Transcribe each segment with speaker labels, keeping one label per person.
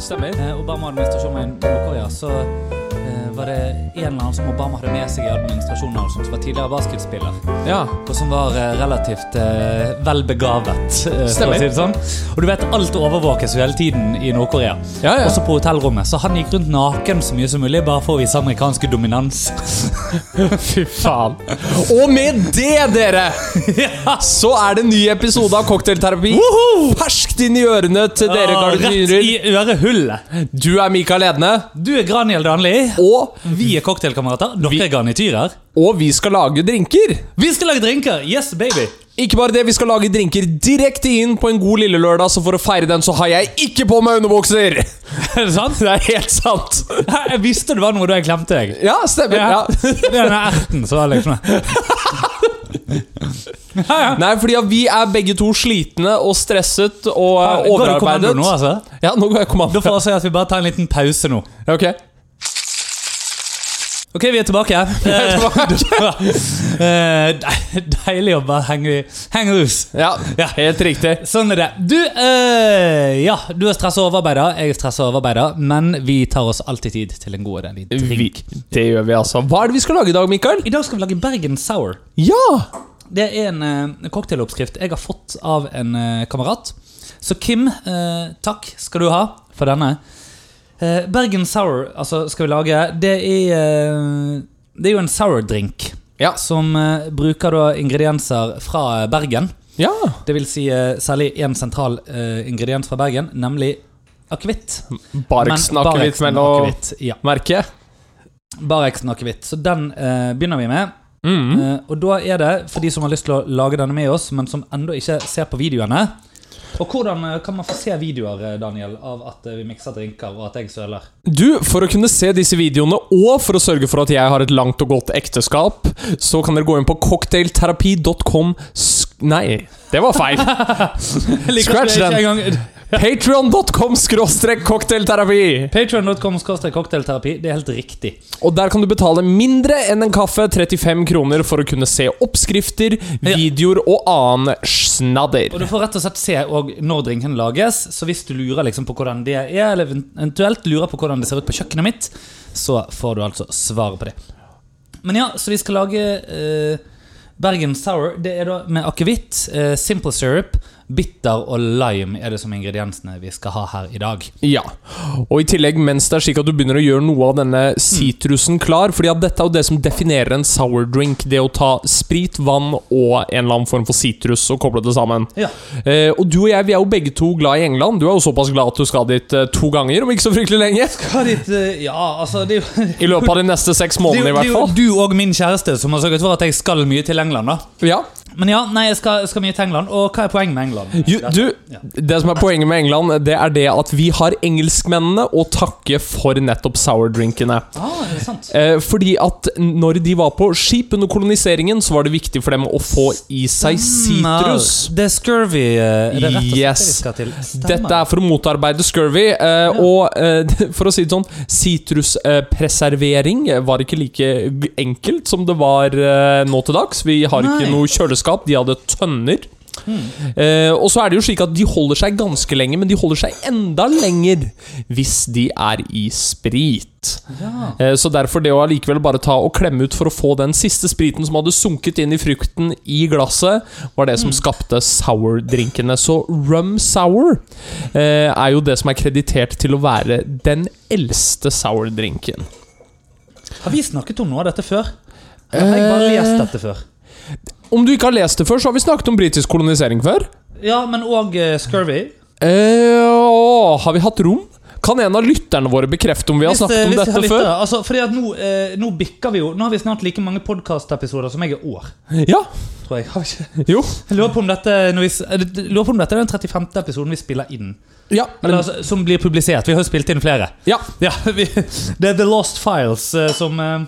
Speaker 1: stemmer.
Speaker 2: eh, Obama-administrasjonen var i Nord-Korea, så eh, var det en eller annen som Obama hadde med seg i administrasjonen, og sånt, som var tidligere basketspiller,
Speaker 1: Ja.
Speaker 2: og som var eh, relativt eh, velbegavet, eh, for
Speaker 1: Stemmer.
Speaker 2: å si det sånn. Og du vet, alt overvåkes jo hele tiden i Nord-Korea,
Speaker 1: Ja, ja.
Speaker 2: også på hotellrommet, så han gikk rundt naken så mye som mulig, bare for å vise amerikanske dominans.
Speaker 1: Fy faen. Og med det, dere, så er det en ny episode av Cocktailterapi. Ferskt inn i ørene til dere,
Speaker 2: Ah, Rett
Speaker 1: gardiner.
Speaker 2: i ørehullet.
Speaker 1: Du er Mikael Edne,
Speaker 2: Du er Granhild Danli.
Speaker 1: og,
Speaker 2: Vi er cocktailkamerater. Dere
Speaker 1: Vi-
Speaker 2: er garnityrer.
Speaker 1: og vi skal lage drinker.
Speaker 2: Vi skal lage drinker! Yes, baby!
Speaker 1: Ikke bare det, vi skal lage drinker direkte inn på en god lille lørdag, så for å feire den, så har jeg ikke på meg underbukser!
Speaker 2: Er det sant?
Speaker 1: Det er helt sant.
Speaker 2: Jeg visste det var noe da jeg glemte deg.
Speaker 1: Ja, stemmer. Ja.
Speaker 2: Det er denne erten som er liksom ja, ja.
Speaker 1: Nei, fordi at vi er begge to slitne og stresset og eh,
Speaker 2: Går det kommando
Speaker 1: overarbeidet.
Speaker 2: nå, altså?
Speaker 1: Ja, nå går jeg kommando.
Speaker 2: Da får jeg si at vi bare tar en liten pause nå.
Speaker 1: Ja, Ok.
Speaker 2: Ok, vi er tilbake.
Speaker 1: er
Speaker 2: Eh, eh, Deilig å bare henge, henge loose.
Speaker 1: Ja,
Speaker 2: Ja.
Speaker 1: helt riktig.
Speaker 2: Sånn er det. Du, eh, ja, du er stressa og overarbeida, jeg er stressa og overarbeida, men vi tar oss alltid tid til en god og deilig
Speaker 1: Vi,
Speaker 2: drink.
Speaker 1: det gjør vi, altså. Hva er det vi skal lage i dag, Mikael?
Speaker 2: I dag skal vi lage Bergen Sour.
Speaker 1: Ja!
Speaker 2: Det er en eh, cocktailoppskrift jeg har fått av en eh, kamerat. Så Kim, eh, takk skal du ha for denne. Eh, Bergen Sour altså, skal vi lage. Det er, eh, det er jo en sourdrink
Speaker 1: Ja.
Speaker 2: som eh, bruker da ingredienser fra Bergen.
Speaker 1: Ja.
Speaker 2: Det vil si eh, særlig én sentral eh, ingrediens fra Bergen, nemlig akevitt.
Speaker 1: Barksen akevitt
Speaker 2: Barksen
Speaker 1: mellom
Speaker 2: akevitt, Ja.
Speaker 1: merket.
Speaker 2: Bareksen akevitt. Så den eh, begynner vi med.
Speaker 1: Mm.
Speaker 2: Eh, og da er det, for de som har lyst til å lage denne med oss, men som ennå ikke ser på videoene Og hvordan eh, kan man få se videoer, eh, Daniel, av at eh, vi mikser drinker, og at jeg søler?
Speaker 1: Du, for å kunne se disse videoene, og for å sørge for at jeg har et langt og godt ekteskap, så kan dere gå inn på cocktailterapi.com sk- Nei, det var feil. Scratch den. Patreon.com skråstrek cocktailterapi.
Speaker 2: Patreon.com cocktailterapi. Det er helt riktig.
Speaker 1: Og der kan du betale mindre enn en kaffe, 35 kroner, for å kunne se oppskrifter, videoer og annen
Speaker 2: Og
Speaker 1: snadder.
Speaker 2: du får rett og slett se og når drinken lages, så hvis du lurer liksom på hvordan det er, eller eventuelt lurer på hvordan det ser ut på kjøkkenet mitt, så får du altså svaret på det. Men ja, så vi skal lage eh, Bergen Sour. Det er da med akevitt, eh, simple syrup, bitter og lime er det som ingrediensene vi skal ha her i dag.
Speaker 1: Ja. Og i tillegg, mens det er slik at du begynner å gjøre noe av denne sitrusen klar, fordi at dette er jo det som definerer en sour drink, det å ta sprit, vann og en eller annen form for sitrus og koble det sammen.
Speaker 2: Ja.
Speaker 1: Eh, og du og jeg vi er jo begge to glad i England. Du er jo såpass glad at du skal dit eh, to ganger om ikke så fryktelig lenge.
Speaker 2: ja, altså det er jo
Speaker 1: I løpet av de neste seks månedene, i
Speaker 2: det er
Speaker 1: hvert
Speaker 2: jo
Speaker 1: fall.
Speaker 2: du og min kjæreste som har sørget for at jeg skal mye til England, da.
Speaker 1: Ja.
Speaker 2: Men ja, nei, jeg skal, skal mye til England. Og hva er poenget med England?
Speaker 1: Jo, du, det som er poenget med England, det er det at vi har engelskmennene å takke for nettopp sourdrinkene.
Speaker 2: Ah, er det sant?
Speaker 1: Eh, fordi at når de var på skip under koloniseringen, så var det viktig for dem å få i seg sitrus.
Speaker 2: Det er scurvy. eh, Er det rett og slett det vi
Speaker 1: Yes.
Speaker 2: skal til? Stemmer.
Speaker 1: Dette er for å motarbeide scurvy. eh, Og eh, for å si det sånn, sitruspreservering var ikke like g- enkelt som det var eh, nå til dags. Vi har
Speaker 2: Nei. Hmm.
Speaker 1: ikke noe kjøleskap, de hadde tønner. Eh, og så er det jo slik at de holder seg ganske lenge, men de holder seg enda lenger hvis de er i sprit.
Speaker 2: ja.
Speaker 1: Eh, Så derfor det å allikevel bare ta og klemme ut for å få den siste spriten som hadde sunket inn i frukten i glasset, var det som
Speaker 2: Mm.
Speaker 1: skapte sour-drinkene. Så rum sour eh, er jo det som er kreditert til å være den eldste sour-drinken.
Speaker 2: Har vi snakket om noe av dette før? Eller har jeg bare
Speaker 1: Eh.
Speaker 2: lest dette før?
Speaker 1: Om du ikke har lest det før, så har vi snakket om britisk kolonisering før.
Speaker 2: Ja, men òg scurvy.
Speaker 1: Eh, å, har vi hatt rom? Kan en av lytterne våre bekrefte om vi har
Speaker 2: Hvis, eh,
Speaker 1: snakket om
Speaker 2: hvis jeg har
Speaker 1: dette
Speaker 2: lyst til
Speaker 1: før?
Speaker 2: det. Altså, fordi at nå, eh, nå bikker vi jo Nå har vi snart like mange podkastepisoder som jeg er år,
Speaker 1: Ja,
Speaker 2: tror jeg. Har vi ikke-
Speaker 1: jo.
Speaker 2: Jeg lurer på om dette, når vi, s- eh, lurer på om dette er den 35. episoden vi spiller inn.
Speaker 1: Ja,
Speaker 2: Eller,
Speaker 1: men,
Speaker 2: altså, som blir publisert. Vi har jo spilt inn flere.
Speaker 1: ja.
Speaker 2: Ja, vi, Det er The Lost Files eh, som, eh,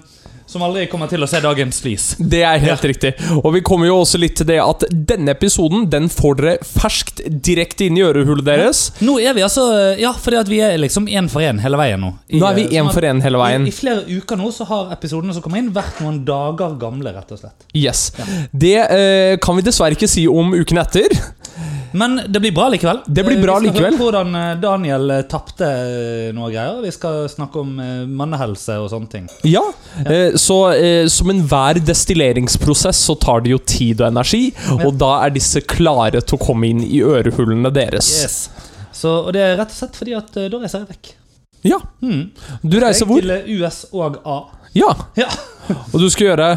Speaker 2: som aldri kommer til å se dagens lys.
Speaker 1: Det er helt riktig. Og vi kommer jo også litt til det at denne episoden den får dere ferskt direkte inn i ørehullet deres.
Speaker 2: Nå er vi altså Ja, fordi at vi er liksom én for én hele veien nå. I,
Speaker 1: Nå er vi
Speaker 2: eh,
Speaker 1: én
Speaker 2: sånn at
Speaker 1: for én hele veien.
Speaker 2: I, I flere uker nå så har episodene som kommer inn, vært noen dager gamle, rett og slett.
Speaker 1: Yes. Det eh, kan vi dessverre ikke si om uken etter.
Speaker 2: Men det blir bra likevel.
Speaker 1: Det blir bra
Speaker 2: Eh, vi skal
Speaker 1: likevel.
Speaker 2: høre hvordan eh, Daniel eh, tapte eh, noe greier. Vi skal snakke om eh, mannehelse og sånne ting.
Speaker 1: Ja, eh, så eh, som enhver destilleringsprosess så tar det jo tid og energi, og da er disse klare til å komme inn i ørehullene deres.
Speaker 2: Yes. Så, og det er rett og slett fordi at eh, da reiser jeg vekk.
Speaker 1: Ja,
Speaker 2: Hmm.
Speaker 1: du reiser hvor?
Speaker 2: Til eh, US og A.
Speaker 1: Ja,
Speaker 2: Ja.
Speaker 1: og du skal gjøre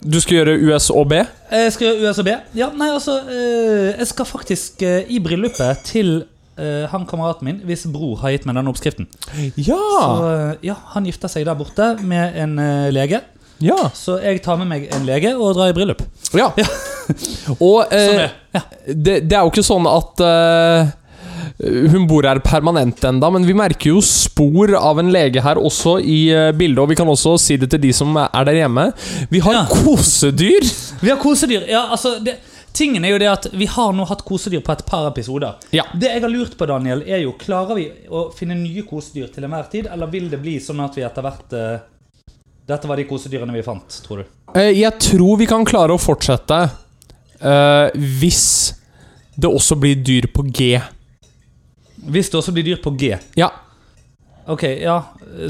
Speaker 1: Du skal gjøre US og B?
Speaker 2: Jeg skal gjøre US og B. Ja, nei, altså eh, Jeg skal faktisk eh, i bryllupet til eh, han kameraten min, hvis bror har gitt meg den oppskriften. Så,
Speaker 1: Ja!
Speaker 2: eh, ja, Han gifter seg der borte med en eh, lege.
Speaker 1: Ja.
Speaker 2: Så jeg tar med meg en lege og drar i bryllup.
Speaker 1: ja.
Speaker 2: Ja.
Speaker 1: Og
Speaker 2: Sånn
Speaker 1: eh,
Speaker 2: er det.
Speaker 1: det, det er jo ikke sånn at eh, hun bor her permanent enda, men vi merker jo spor av en lege her også i eh, bildet. Og vi kan også si det til de som er der hjemme. Vi har
Speaker 2: Ja.
Speaker 1: kosedyr!
Speaker 2: Vi har kosedyr. Ja, altså det, Tingen er jo det at vi har nå hatt kosedyr på et par episoder.
Speaker 1: Ja.
Speaker 2: Det jeg har lurt på, Daniel, er jo Klarer vi å finne nye kosedyr til enhver tid, eller vil det bli sånn at vi etter hvert eh, Dette var de kosedyrene vi fant, tror du?
Speaker 1: Eh, Jeg tror vi kan klare å fortsette eh, hvis det også blir dyr på G.
Speaker 2: Hvis det også blir dyr på G.
Speaker 1: Ja.
Speaker 2: Ok, ja,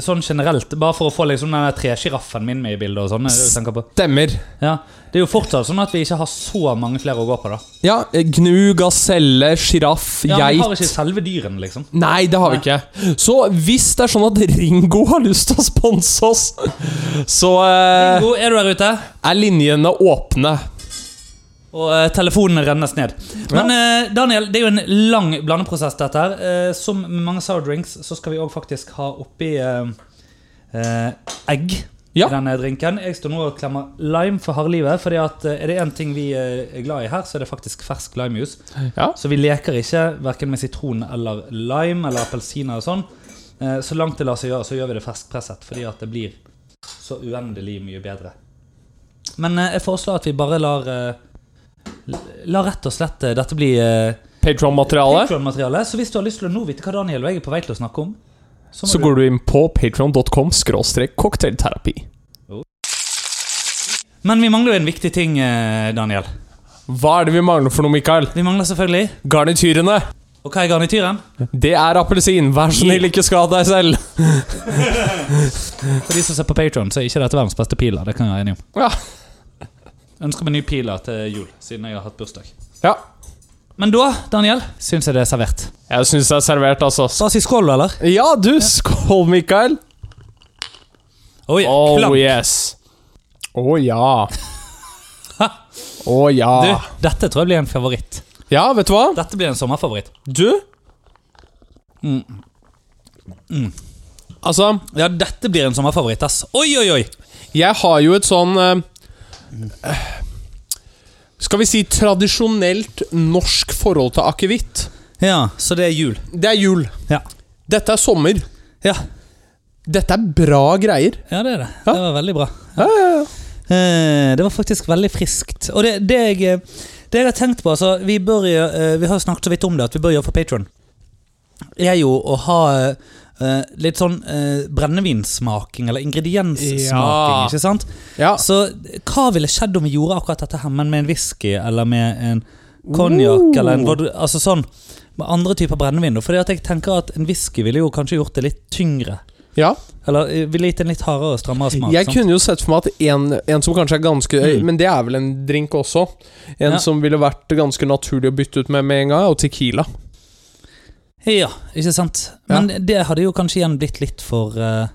Speaker 2: Sånn generelt, bare for å få liksom den der tresjiraffen min med i bildet. og sånn, er det du tenker på?
Speaker 1: Stemmer.
Speaker 2: Ja, Det er jo fortsatt sånn at vi ikke har så mange flere å gå på. da.
Speaker 1: Ja, eh, Gnu, gaselle, sjiraff,
Speaker 2: Ja, Vi har
Speaker 1: geit
Speaker 2: ikke selve dyrene, liksom.
Speaker 1: Nei, det har vi
Speaker 2: Nei.
Speaker 1: ikke. Så hvis det er sånn at Ringo har lyst til å sponse oss, så eh,
Speaker 2: Ingo, er du der ute?
Speaker 1: er linjene åpne.
Speaker 2: Og eh, telefonene rennes ned. Men eh, Daniel, det er jo en lang blandeprosess, dette her. Eh, som med mange sour drinks så skal vi òg faktisk ha oppi eh, eh, egg
Speaker 1: Ja.
Speaker 2: i denne drinken. Jeg står nå og klemmer lime for harde livet. For er det én ting vi eh, er glad i her, så er det faktisk fersk limejuice.
Speaker 1: Ja.
Speaker 2: Så vi leker ikke verken med sitron eller lime eller appelsiner og sånn. Eh, Så langt det lar seg gjøre, så gjør vi det ferskpresset, fordi at det blir så uendelig mye bedre. Men eh, jeg foreslår at vi bare lar eh, La rett og slett eh, dette bli eh,
Speaker 1: Patron-materiale.
Speaker 2: Patreon-materiale. Så hvis du har lyst til å nå vite hva Daniel og jeg er på vei til å snakke om, må
Speaker 1: Så
Speaker 2: du-
Speaker 1: går du inn på patron.com skråstrek cocktailterapi.
Speaker 2: Men vi mangler jo en viktig ting, eh, Daniel.
Speaker 1: Hva er det vi mangler for noe, Mikael?
Speaker 2: Vi mangler selvfølgelig
Speaker 1: Garnityrene.
Speaker 2: Og hva er garnityren?
Speaker 1: Det er appelsin. Vær så snill, ikke skad deg selv.
Speaker 2: For de som ser på Patron, så er ikke dette verdens beste piler. Det kan jeg være enig om.
Speaker 1: Ja.
Speaker 2: Ønsker meg ny piler til jul, siden jeg har hatt bursdag.
Speaker 1: ja.
Speaker 2: Men da, Daniel, syns jeg det er servert.
Speaker 1: Jeg syns det er servert, altså.
Speaker 2: Bare si skål, eller?
Speaker 1: Ja, du. Skål, Mikael.
Speaker 2: Oi,
Speaker 1: Oh
Speaker 2: klam.
Speaker 1: yes. Å ja.
Speaker 2: Ha.
Speaker 1: Å ja.
Speaker 2: Du, dette tror jeg blir en favoritt.
Speaker 1: Ja, vet du hva?
Speaker 2: Dette blir en sommerfavoritt.
Speaker 1: Du? Mm. Altså,
Speaker 2: Ja, dette blir en sommerfavoritt, ass. Oi, oi, oi!
Speaker 1: jeg har jo et sånn eh, Skal vi si tradisjonelt norsk forhold til akevitt.
Speaker 2: Ja, så det er jul.
Speaker 1: Det er jul.
Speaker 2: Ja.
Speaker 1: Dette er sommer.
Speaker 2: Ja,
Speaker 1: Dette er bra greier.
Speaker 2: ja det er det.
Speaker 1: Ja.
Speaker 2: Det var veldig bra.
Speaker 1: Ja, ja, ja.
Speaker 2: Eh, Det var faktisk veldig friskt. Og det, det, jeg, eh, det jeg har tenkt på altså, vi, bør, gjøre- eh, vi har jo snakket så vidt om det, at vi bør gjøre for Patron. Er jo å ha eh, eh, litt sånn eh, brennevinsmaking, eller ingredienssmaking,
Speaker 1: Ja.
Speaker 2: ikke sant?
Speaker 1: ja.
Speaker 2: Så hva ville skjedd om vi gjorde akkurat dette her, men med en whisky eller med en konjakk?
Speaker 1: Uh.
Speaker 2: Eller en, vod- altså sånn, med andre typer brennevin. da? Fordi at jeg tenker at en whisky ville jo kanskje gjort det litt tyngre.
Speaker 1: ja.
Speaker 2: Eller eh, ville gitt en litt hardere og strammere smak.
Speaker 1: Jeg
Speaker 2: sant?
Speaker 1: kunne jo sett for meg at en, en som kanskje er ganske
Speaker 2: Mm.
Speaker 1: Men det er vel en drink også. En
Speaker 2: Ja.
Speaker 1: som ville vært ganske naturlig å bytte ut med med en gang, er jo Tequila.
Speaker 2: Ja, ikke sant?
Speaker 1: Ja.
Speaker 2: Men det hadde jo kanskje igjen blitt litt for eh,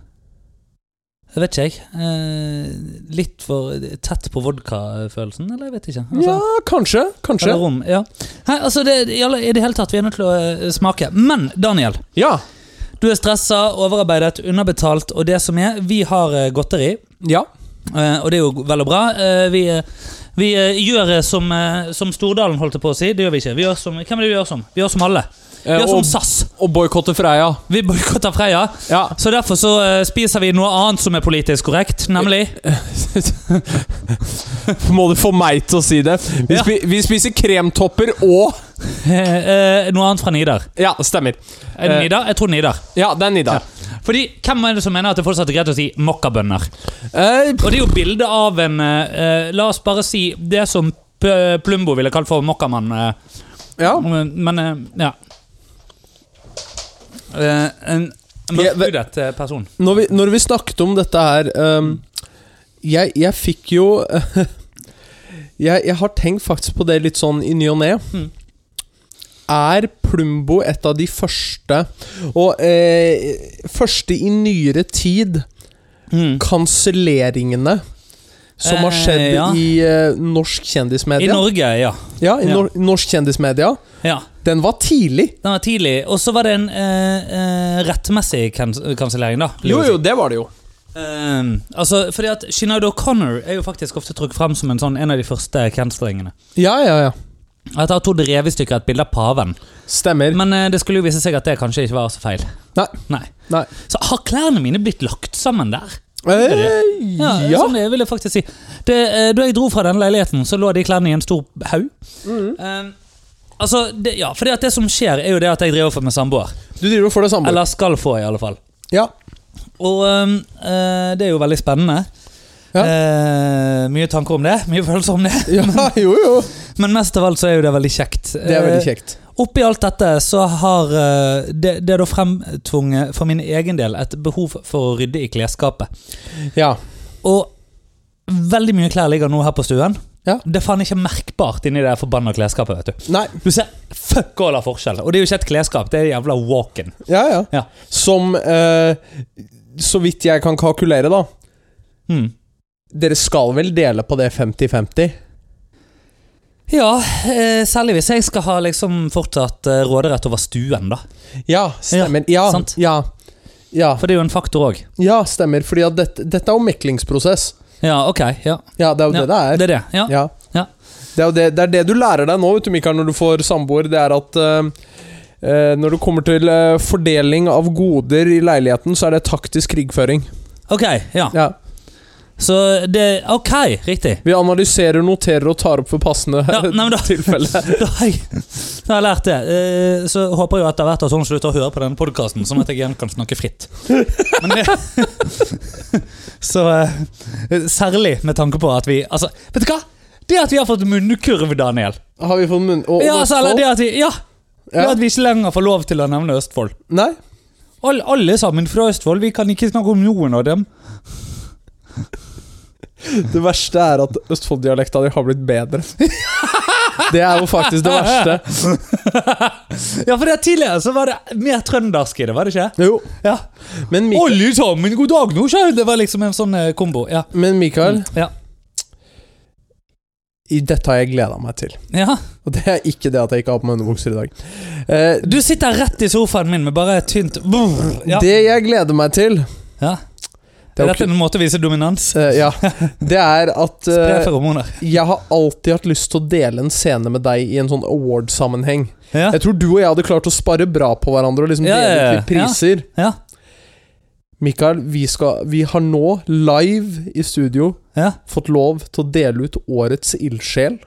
Speaker 2: Jeg vet ikke, jeg. eh, litt for tett på vodkafølelsen, eller jeg vet ikke. Altså,
Speaker 1: Ja, kanskje. Kanskje.
Speaker 2: Eller rom, ja. Nei, altså det, i alle- I det hele tatt, vi er nødt til å eh, smake. Men Daniel,
Speaker 1: Ja.
Speaker 2: Du er stressa, overarbeidet, underbetalt og det som er. Vi har eh, godteri,
Speaker 1: Ja.
Speaker 2: eh, og det er jo vel og bra. Eh, Vi, eh, vi eh, gjør eh, som, eh, som Stordalen holdt jeg på å si. Det gjør vi ikke. Vi gjør som, hvem er det vi gjør som? Vi gjør som alle. Vi
Speaker 1: Eh,
Speaker 2: gjør
Speaker 1: og
Speaker 2: som SAS.
Speaker 1: og boikotte Freia.
Speaker 2: Vi boikotter Freia.
Speaker 1: Ja.
Speaker 2: Så derfor så eh, spiser vi noe annet som er politisk korrekt, nemlig
Speaker 1: Må du få meg til å si det? Vi,
Speaker 2: Ja.
Speaker 1: spi vi spiser kremtopper og
Speaker 2: eh, eh, noe annet fra Nidar.
Speaker 1: Ja, stemmer.
Speaker 2: Er det
Speaker 1: Eh.
Speaker 2: Nidar? Jeg tror Nidar.
Speaker 1: Ja, det er Nidar.
Speaker 2: Fordi hvem er det som mener at det fortsatt er greit å si mokkabønner?
Speaker 1: Eh,
Speaker 2: Og det er jo bilde av en eh, eh, La oss bare si det som P- Plumbo ville kalt for Mokkamann. eh,
Speaker 1: Ja.
Speaker 2: Men eh, ja. Eh, En
Speaker 1: Ja, ve-
Speaker 2: mørkhudet eh, person.
Speaker 1: Når vi, når vi snakket om dette her ehm, jeg, jeg fikk jo jeg, jeg har tenkt faktisk på det litt sånn i ny og ne.
Speaker 2: Mm.
Speaker 1: Er Plumbo et av de første Og eh, første i nyere tid Hmm. kanselleringene som har
Speaker 2: Mm. Eh,
Speaker 1: skjedd
Speaker 2: ja.
Speaker 1: i eh, norsk
Speaker 2: I
Speaker 1: kjendismedia?
Speaker 2: Norge, ja.
Speaker 1: ja, i
Speaker 2: ja.
Speaker 1: nor norsk kjendismedia.
Speaker 2: ja.
Speaker 1: Den var tidlig.
Speaker 2: Den var tidlig. Og så var det en eh, eh, rettmessig kans kansellering, da. vil jeg si.
Speaker 1: det var det jo.
Speaker 2: Ehm, altså, fordi at Sinead O'Connor er jo faktisk ofte trukket frem som en, sånn, en av de første cancelingene.
Speaker 1: Ja, ja, ja.
Speaker 2: Etter at hun drev i stykker et bilde av paven.
Speaker 1: Stemmer.
Speaker 2: Men eh, det skulle jo vise seg at det kanskje ikke var så feil.
Speaker 1: Nei.
Speaker 2: Nei.
Speaker 1: Nei.
Speaker 2: Så har klærne mine blitt lagt sammen der?
Speaker 1: Eh,
Speaker 2: Ja,
Speaker 1: ja.
Speaker 2: Sånn det vil jeg faktisk si. Det, eh, da jeg dro fra den leiligheten, så lå de klærne i en stor haug.
Speaker 1: Mm.
Speaker 2: Ehm, altså, det, ja, fordi at det som skjer, er jo det at jeg driver for med samboer.
Speaker 1: Du driver og får det samme.
Speaker 2: Eller skal få, i alle fall.
Speaker 1: Ja.
Speaker 2: Og øhm, øh, det er jo veldig spennende.
Speaker 1: Ja.
Speaker 2: Eh, mye tanker om det, mye følelser om det.
Speaker 1: ja, jo jo.
Speaker 2: Men mest av alt så er jo det veldig kjekt.
Speaker 1: Det er veldig kjekt.
Speaker 2: Eh, oppi alt dette så har eh, det, det er da fremtvunget for min egen del et behov for å rydde i klesskapet.
Speaker 1: Ja.
Speaker 2: Og veldig mye klær ligger nå her på stuen.
Speaker 1: Ja.
Speaker 2: Det er faen ikke merkbart inni det forbanna klesskapet. vet Du
Speaker 1: Nei.
Speaker 2: Du ser fuck all av forskjell. Og det er jo ikke et klesskap, det er jævla walk-in.
Speaker 1: Ja, ja.
Speaker 2: Ja.
Speaker 1: Som eh, Så vidt jeg kan kalkulere, da.
Speaker 2: Mm.
Speaker 1: Dere skal vel dele på det 50-50?
Speaker 2: Ja, eh, særlig hvis jeg skal ha liksom fortsatt eh, råderett over stuen, da.
Speaker 1: Ja, stemmer. Ja.
Speaker 2: sant.
Speaker 1: Ja. Ja,
Speaker 2: For det er jo en faktor òg.
Speaker 1: ja stemmer. Fordi at dette, dette er jo meklingsprosess.
Speaker 2: Ja, ok. Ja.
Speaker 1: Ja, det er jo det
Speaker 2: Ja,
Speaker 1: det er.
Speaker 2: Det er det. Ja.
Speaker 1: Ja.
Speaker 2: Ja.
Speaker 1: Det er jo det, det, er det du lærer deg nå, vet du, Mikael, når du får samboer. Det er at eh, eh, når det kommer til eh, fordeling av goder i leiligheten, så er det taktisk krigføring.
Speaker 2: Ok, ja.
Speaker 1: Ja.
Speaker 2: Så det Ok, riktig.
Speaker 1: Vi analyserer, noterer og tar opp for passende
Speaker 2: Ja, nei, men da-
Speaker 1: tilfelle.
Speaker 2: Da har jeg, da har jeg lært det. Eh, Så håper jeg jo etter hvert at hun slutter å høre på denne podkasten, sånn at jeg igjen kan snakke fritt. Men det, så eh, Særlig med tanke på at vi Altså, vet du hva? Det at vi har fått munnkurv, Daniel.
Speaker 1: Har vi fått munn... Og,
Speaker 2: Ja,
Speaker 1: og
Speaker 2: altså, eller det at vi, ja, det
Speaker 1: Ja.
Speaker 2: at vi ikke lenger får lov til å nevne Østfold.
Speaker 1: Nei?
Speaker 2: All, alle sammen fra Østfold. Vi kan ikke snakke om noen av dem.
Speaker 1: Det verste er at Østfold-dialekta di har blitt bedre. Det er jo faktisk det verste.
Speaker 2: Ja, for det at Tidligere så var det mer trøndersk i det, var det ikke?
Speaker 1: Jo,
Speaker 2: Ja.
Speaker 1: men, Mik
Speaker 2: Alle sammen, god dag nå, sjøl! Det var liksom en sånn eh, kombo. Ja.
Speaker 1: men Mikael,
Speaker 2: Ja.
Speaker 1: i dette har jeg gleda meg til.
Speaker 2: ja.
Speaker 1: Og det er ikke det at jeg ikke har på meg underbukser i dag. Eh,
Speaker 2: Du sitter rett i sofaen min med bare et tynt brr. ja.
Speaker 1: Det jeg gleder meg til
Speaker 2: ja.
Speaker 1: Det er,
Speaker 2: Er
Speaker 1: jo
Speaker 2: dette
Speaker 1: ikke-
Speaker 2: en måte å vise dominans?
Speaker 1: eh, ja, det er at
Speaker 2: Spre
Speaker 1: eh,
Speaker 2: feromoner.
Speaker 1: jeg har alltid hatt lyst til å dele en scene med deg i en sånn award-sammenheng.
Speaker 2: Ja.
Speaker 1: Jeg tror du og jeg hadde klart å spare bra på hverandre og liksom
Speaker 2: Ja, ja,
Speaker 1: dele
Speaker 2: ja.
Speaker 1: ut litt priser.
Speaker 2: Ja.
Speaker 1: Mikael, vi, skal, vi har nå, live i studio,
Speaker 2: ja.
Speaker 1: fått lov til å dele ut årets ildsjel.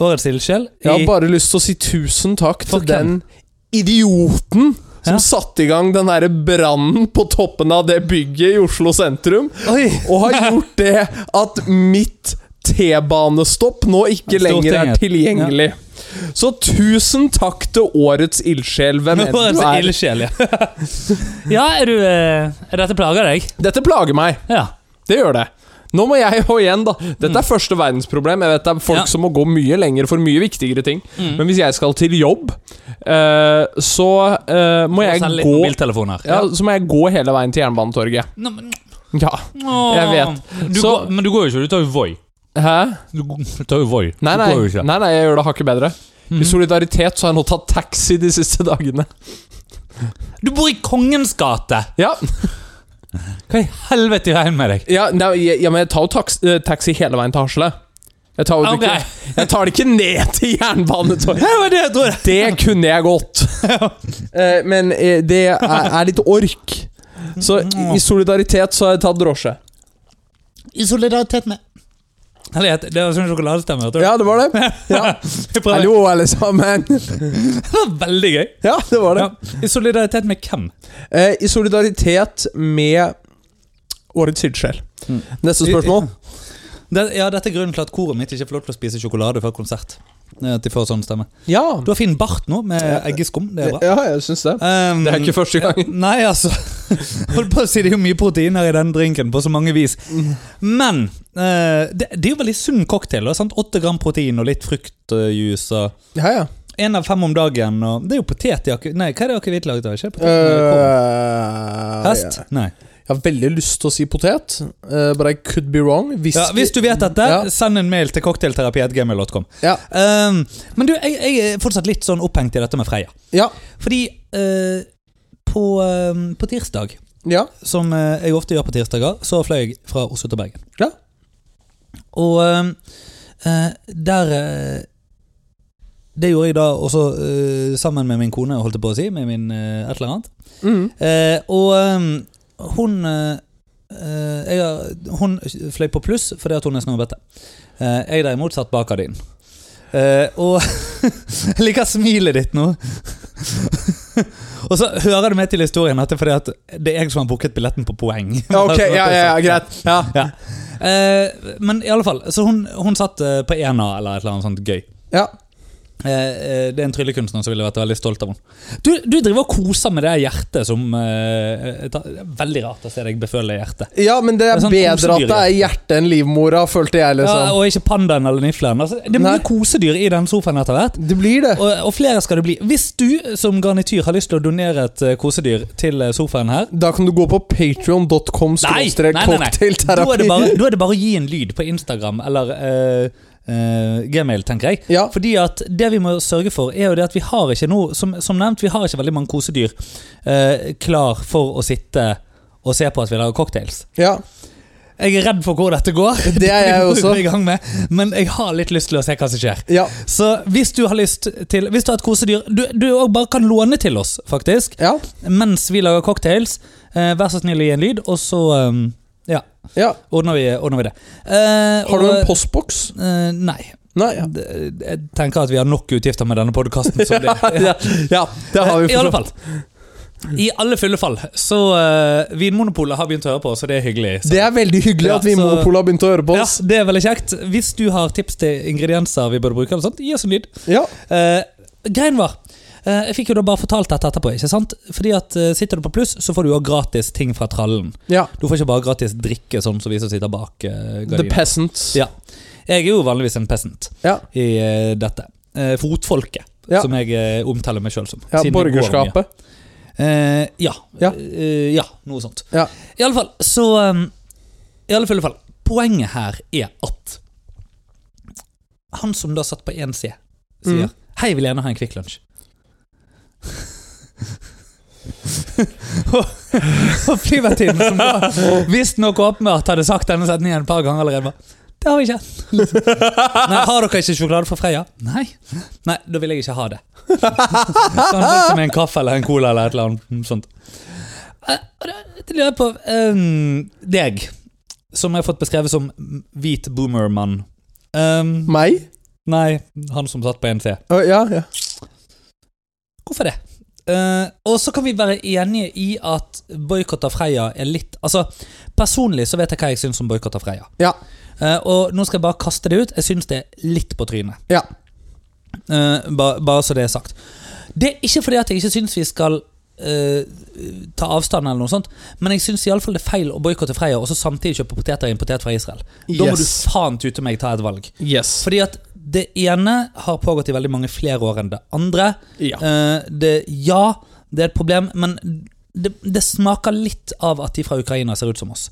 Speaker 2: Årets ildsjel.
Speaker 1: Jeg har
Speaker 2: i-
Speaker 1: bare lyst til å si tusen takk til
Speaker 2: For
Speaker 1: den
Speaker 2: hvem?
Speaker 1: idioten som
Speaker 2: Ja.
Speaker 1: satte i gang den derre brannen på toppen av det bygget i Oslo sentrum,
Speaker 2: Oi!
Speaker 1: og har gjort det at mitt T-banestopp nå ikke lenger er
Speaker 2: Stortinget.
Speaker 1: tilgjengelig. Så tusen takk til årets ildsjel, hvem enn du
Speaker 2: Årets
Speaker 1: er.
Speaker 2: ildsjel, ja. ja, er du eh, Er dette plager deg?
Speaker 1: Dette plager meg.
Speaker 2: Ja.
Speaker 1: Det gjør det. Nå må jeg og igjen, da. Dette er første verdensproblem. Jeg vet det er folk
Speaker 2: Mm. Ja. Mm.
Speaker 1: som må gå mye lenger for mye viktigere ting. Men hvis jeg skal til jobb, eh, så eh, må jeg
Speaker 2: Selg litt
Speaker 1: gå
Speaker 2: mobiltelefoner.
Speaker 1: ja, Så må jeg gå hele veien til Jernbanetorget.
Speaker 2: Nå, men,
Speaker 1: Ja.
Speaker 2: Åh.
Speaker 1: Jeg vet.
Speaker 2: Du
Speaker 1: Så-
Speaker 2: går, men du går jo ikke, du tar jo Voi.
Speaker 1: Hæ?
Speaker 2: Du g- du tar jo Voi.
Speaker 1: Nei,
Speaker 2: du
Speaker 1: nei,
Speaker 2: går jo ikke.
Speaker 1: nei, nei jeg gjør det hakket bedre. I solidaritet så har jeg nå tatt taxi de siste dagene.
Speaker 2: Du bor i Kongens gate!
Speaker 1: Ja,
Speaker 2: Hva i helvete gjør jeg med deg?
Speaker 1: ja, nei, jeg- ja men jeg tar jo taks, eh, taxi hele veien til Hasle. Jeg tar, jo det
Speaker 2: Ok.
Speaker 1: ikke, jeg tar det ikke ned til Jernbanetorget.
Speaker 2: Det var det jeg trodde!
Speaker 1: Det kunne jeg godt. Eh, Men eh, det er, er litt ork. Så i- i solidaritet så har jeg tatt drosje.
Speaker 2: I solidaritet med Herlighet, det var sånn sjokoladestemme. hørte du?
Speaker 1: Ja, det var det. Ja.
Speaker 2: Jeg prøver.
Speaker 1: Hallo, alle sammen.
Speaker 2: Det var veldig gøy.
Speaker 1: Ja, det var det.
Speaker 2: Ja. I solidaritet med hvem?
Speaker 1: Eh, I solidaritet med årets ildsjel. Neste spørsmål.
Speaker 2: Det, ja, dette er grunnen til at koret mitt ikke får lov til å spise sjokolade før konsert. Eh, At de får sånn stemme.
Speaker 1: Ja,
Speaker 2: Du har fin bart nå, med eggeskum. Det er bra.
Speaker 1: ja jeg syns det.
Speaker 2: Um,
Speaker 1: Det er ikke første gangen.
Speaker 2: Nei, altså. Holdt på å si Det er jo mye proteiner i den drinken, på så mange vis. Men eh, det, det er jo veldig sunn cocktail. da, sant? Åtte gram protein og litt fruktjuice. og
Speaker 1: Ja, ja.
Speaker 2: Én av fem om dagen. Og det er jo potet i akke... Nei, hva er det akevitt laget av? Ikke potet, korn.
Speaker 1: Eh,
Speaker 2: Hest?
Speaker 1: ja.
Speaker 2: Nei.
Speaker 1: Jeg har veldig lyst til å si potet, eh, but I could be wrong. Hvis,
Speaker 2: Ja, hvis du vet dette,
Speaker 1: Ja.
Speaker 2: send en mail til cocktailterapi.gmail.com.
Speaker 1: Ja.
Speaker 2: Um, men du, jeg, jeg er fortsatt litt sånn opphengt i dette med Freia.
Speaker 1: Ja.
Speaker 2: Fordi eh, på, eh, på tirsdag,
Speaker 1: ja.
Speaker 2: som eh, jeg ofte gjør på tirsdager, så fløy jeg fra Oslo til Bergen.
Speaker 1: Ja.
Speaker 2: Og eh, eh, der eh, Det gjorde jeg da også eh, sammen med min kone, holdt jeg på å si, med min eh, et eller annet.
Speaker 1: Mhm.
Speaker 2: Eh, og ehm, hun eh, eh, jeg, har- Hun fløy på pluss fordi at hun er snobbete. Eh, jeg derimot satt bak gardinen. Eh, og jeg liker smilet ditt nå. og så hører du med til historien at det er fordi at det er jeg som har booket billetten på poeng.
Speaker 1: ja ok, ja, ja, ja, greit. Ja.
Speaker 2: Ja. Eh, men i alle fall, så hun, hun satt eh, på ena eller et eller annet sånt gøy.
Speaker 1: Ja.
Speaker 2: Eh, eh, Det er en tryllekunstner som ville vært veldig stolt av henne. Du, du driver og koser med det hjertet som eh, et, det er Veldig rart å se deg beføle hjertet.
Speaker 1: ja, men det
Speaker 2: Det
Speaker 1: er
Speaker 2: er sånn
Speaker 1: bedre at
Speaker 2: kosedyr,
Speaker 1: det er hjerte enn livmora, følte jeg.
Speaker 2: Ja,
Speaker 1: liksom
Speaker 2: og ikke pandaen eller nifleren. Altså, det er
Speaker 1: Nei.
Speaker 2: mye kosedyr i den sofaen etter hvert.
Speaker 1: Det blir det.
Speaker 2: Og, og flere skal det bli. Hvis du som garnityr har lyst til å donere et eh, kosedyr til eh, sofaen her
Speaker 1: Da kan du gå på patreon.com
Speaker 2: Nei, nei, nei, nei. Da er, det
Speaker 1: cocktailterapi.
Speaker 2: bare, da er det bare å gi en lyd på Instagram eller eh, eh, Gmail, tenker jeg.
Speaker 1: Ja.
Speaker 2: Fordi at det vi må sørge for, er jo det at vi har ikke noe Som, som nevnt, vi har ikke veldig mange kosedyr eh, klar for å sitte og se på at vi lager cocktails.
Speaker 1: Ja.
Speaker 2: Jeg er redd for hvor dette går.
Speaker 1: Det er jeg
Speaker 2: må vi
Speaker 1: også.
Speaker 2: gå i gang med, men jeg har litt lyst til å se hva som skjer.
Speaker 1: Ja.
Speaker 2: Så hvis du har lyst til Hvis du har et kosedyr Du, du også bare kan låne til oss, faktisk,
Speaker 1: Ja.
Speaker 2: mens vi lager cocktails. Eh, vær så snill å gi en lyd, og så eh, Ja
Speaker 1: ja.
Speaker 2: ordner vi, ordner vi det. Eh,
Speaker 1: Har du
Speaker 2: og-
Speaker 1: en postboks?
Speaker 2: Eh, nei.
Speaker 1: Nei. Ja.
Speaker 2: D- Jeg tenker at vi har nok utgifter med denne podkasten som det er.
Speaker 1: ja, ja, det har vi
Speaker 2: I alle
Speaker 1: forstått.
Speaker 2: fall. I alle fulle fall. Så eh, Vinmonopolet har begynt å høre på, så det er hyggelig. Så.
Speaker 1: Det er veldig hyggelig
Speaker 2: Ja,
Speaker 1: at Vinmonopolet har begynt å høre på
Speaker 2: Ja,
Speaker 1: oss.
Speaker 2: det er veldig kjekt. Hvis du har tips til ingredienser vi burde bruke, eller sånt, gi oss en lyd.
Speaker 1: Ja.
Speaker 2: Eh, greien var eh, Jeg fikk jo da bare fortalt dette etterpå. ikke sant? Fordi at eh, Sitter du på pluss, så får du jo gratis ting fra trallen.
Speaker 1: ja.
Speaker 2: Du får ikke bare gratis drikke, sånn som vi som sitter bak eh,
Speaker 1: The
Speaker 2: gardinen.
Speaker 1: Peasants.
Speaker 2: Ja. Jeg er jo vanligvis en peasant.
Speaker 1: Ja.
Speaker 2: i eh, dette. Eh, fotfolket,
Speaker 1: Ja.
Speaker 2: som jeg eh, omtaler meg sjøl som.
Speaker 1: Ja,
Speaker 2: siden jeg går mye.
Speaker 1: borgerskapet.
Speaker 2: Eh, ja.
Speaker 1: Ja.
Speaker 2: Eh, ja, noe sånt.
Speaker 1: Ja.
Speaker 2: I alle fall, så eh, I alle fulle fall, poenget her er at han som da satt på 1C, sier
Speaker 1: Mm.
Speaker 2: 'Hei, vil gjerne ha en Kvikk Lunsj'. Og flyvertinnen, som da visstnok åpenbart hadde sagt denne setningen et par ganger allerede, var 'Det har vi ikke'. Nei, 'Har dere ikke sjokolade fra Freia?' Nei. Nei, da vil jeg ikke ha det. Så han fant seg med en kaffe eller en cola eller et eller annet sånt. Eh, og da- Det lurer jeg på ehm, Deg, som jeg har fått beskrevet som hvit boomermann. Ehm,
Speaker 1: Meg?
Speaker 2: nei, han som satt på NC.
Speaker 1: Å, Ja, ja.
Speaker 2: Hvorfor det? Eh, og så kan vi være enige i at boikott av Freia er litt Altså, Personlig så vet jeg hva jeg syns om boikott av Freia.
Speaker 1: Ja.
Speaker 2: Eh, og nå skal jeg bare kaste det ut. Jeg syns det er litt på trynet.
Speaker 1: Ja.
Speaker 2: Eh, ba, bare så det er sagt. Det er ikke fordi at jeg ikke syns vi skal eh, ta avstand, eller noe sånt men jeg syns iallfall det er feil å boikotte Freia og så samtidig kjøpe poteter importert fra Israel. Da må du
Speaker 1: Yes.
Speaker 2: faen tute meg ta et valg.
Speaker 1: Yes.
Speaker 2: Fordi at det ene har pågått i veldig mange flere år enn det andre.
Speaker 1: Ja.
Speaker 2: Eh, det, ja, det er et problem, men det, det smaker litt av at de fra Ukraina ser ut som oss.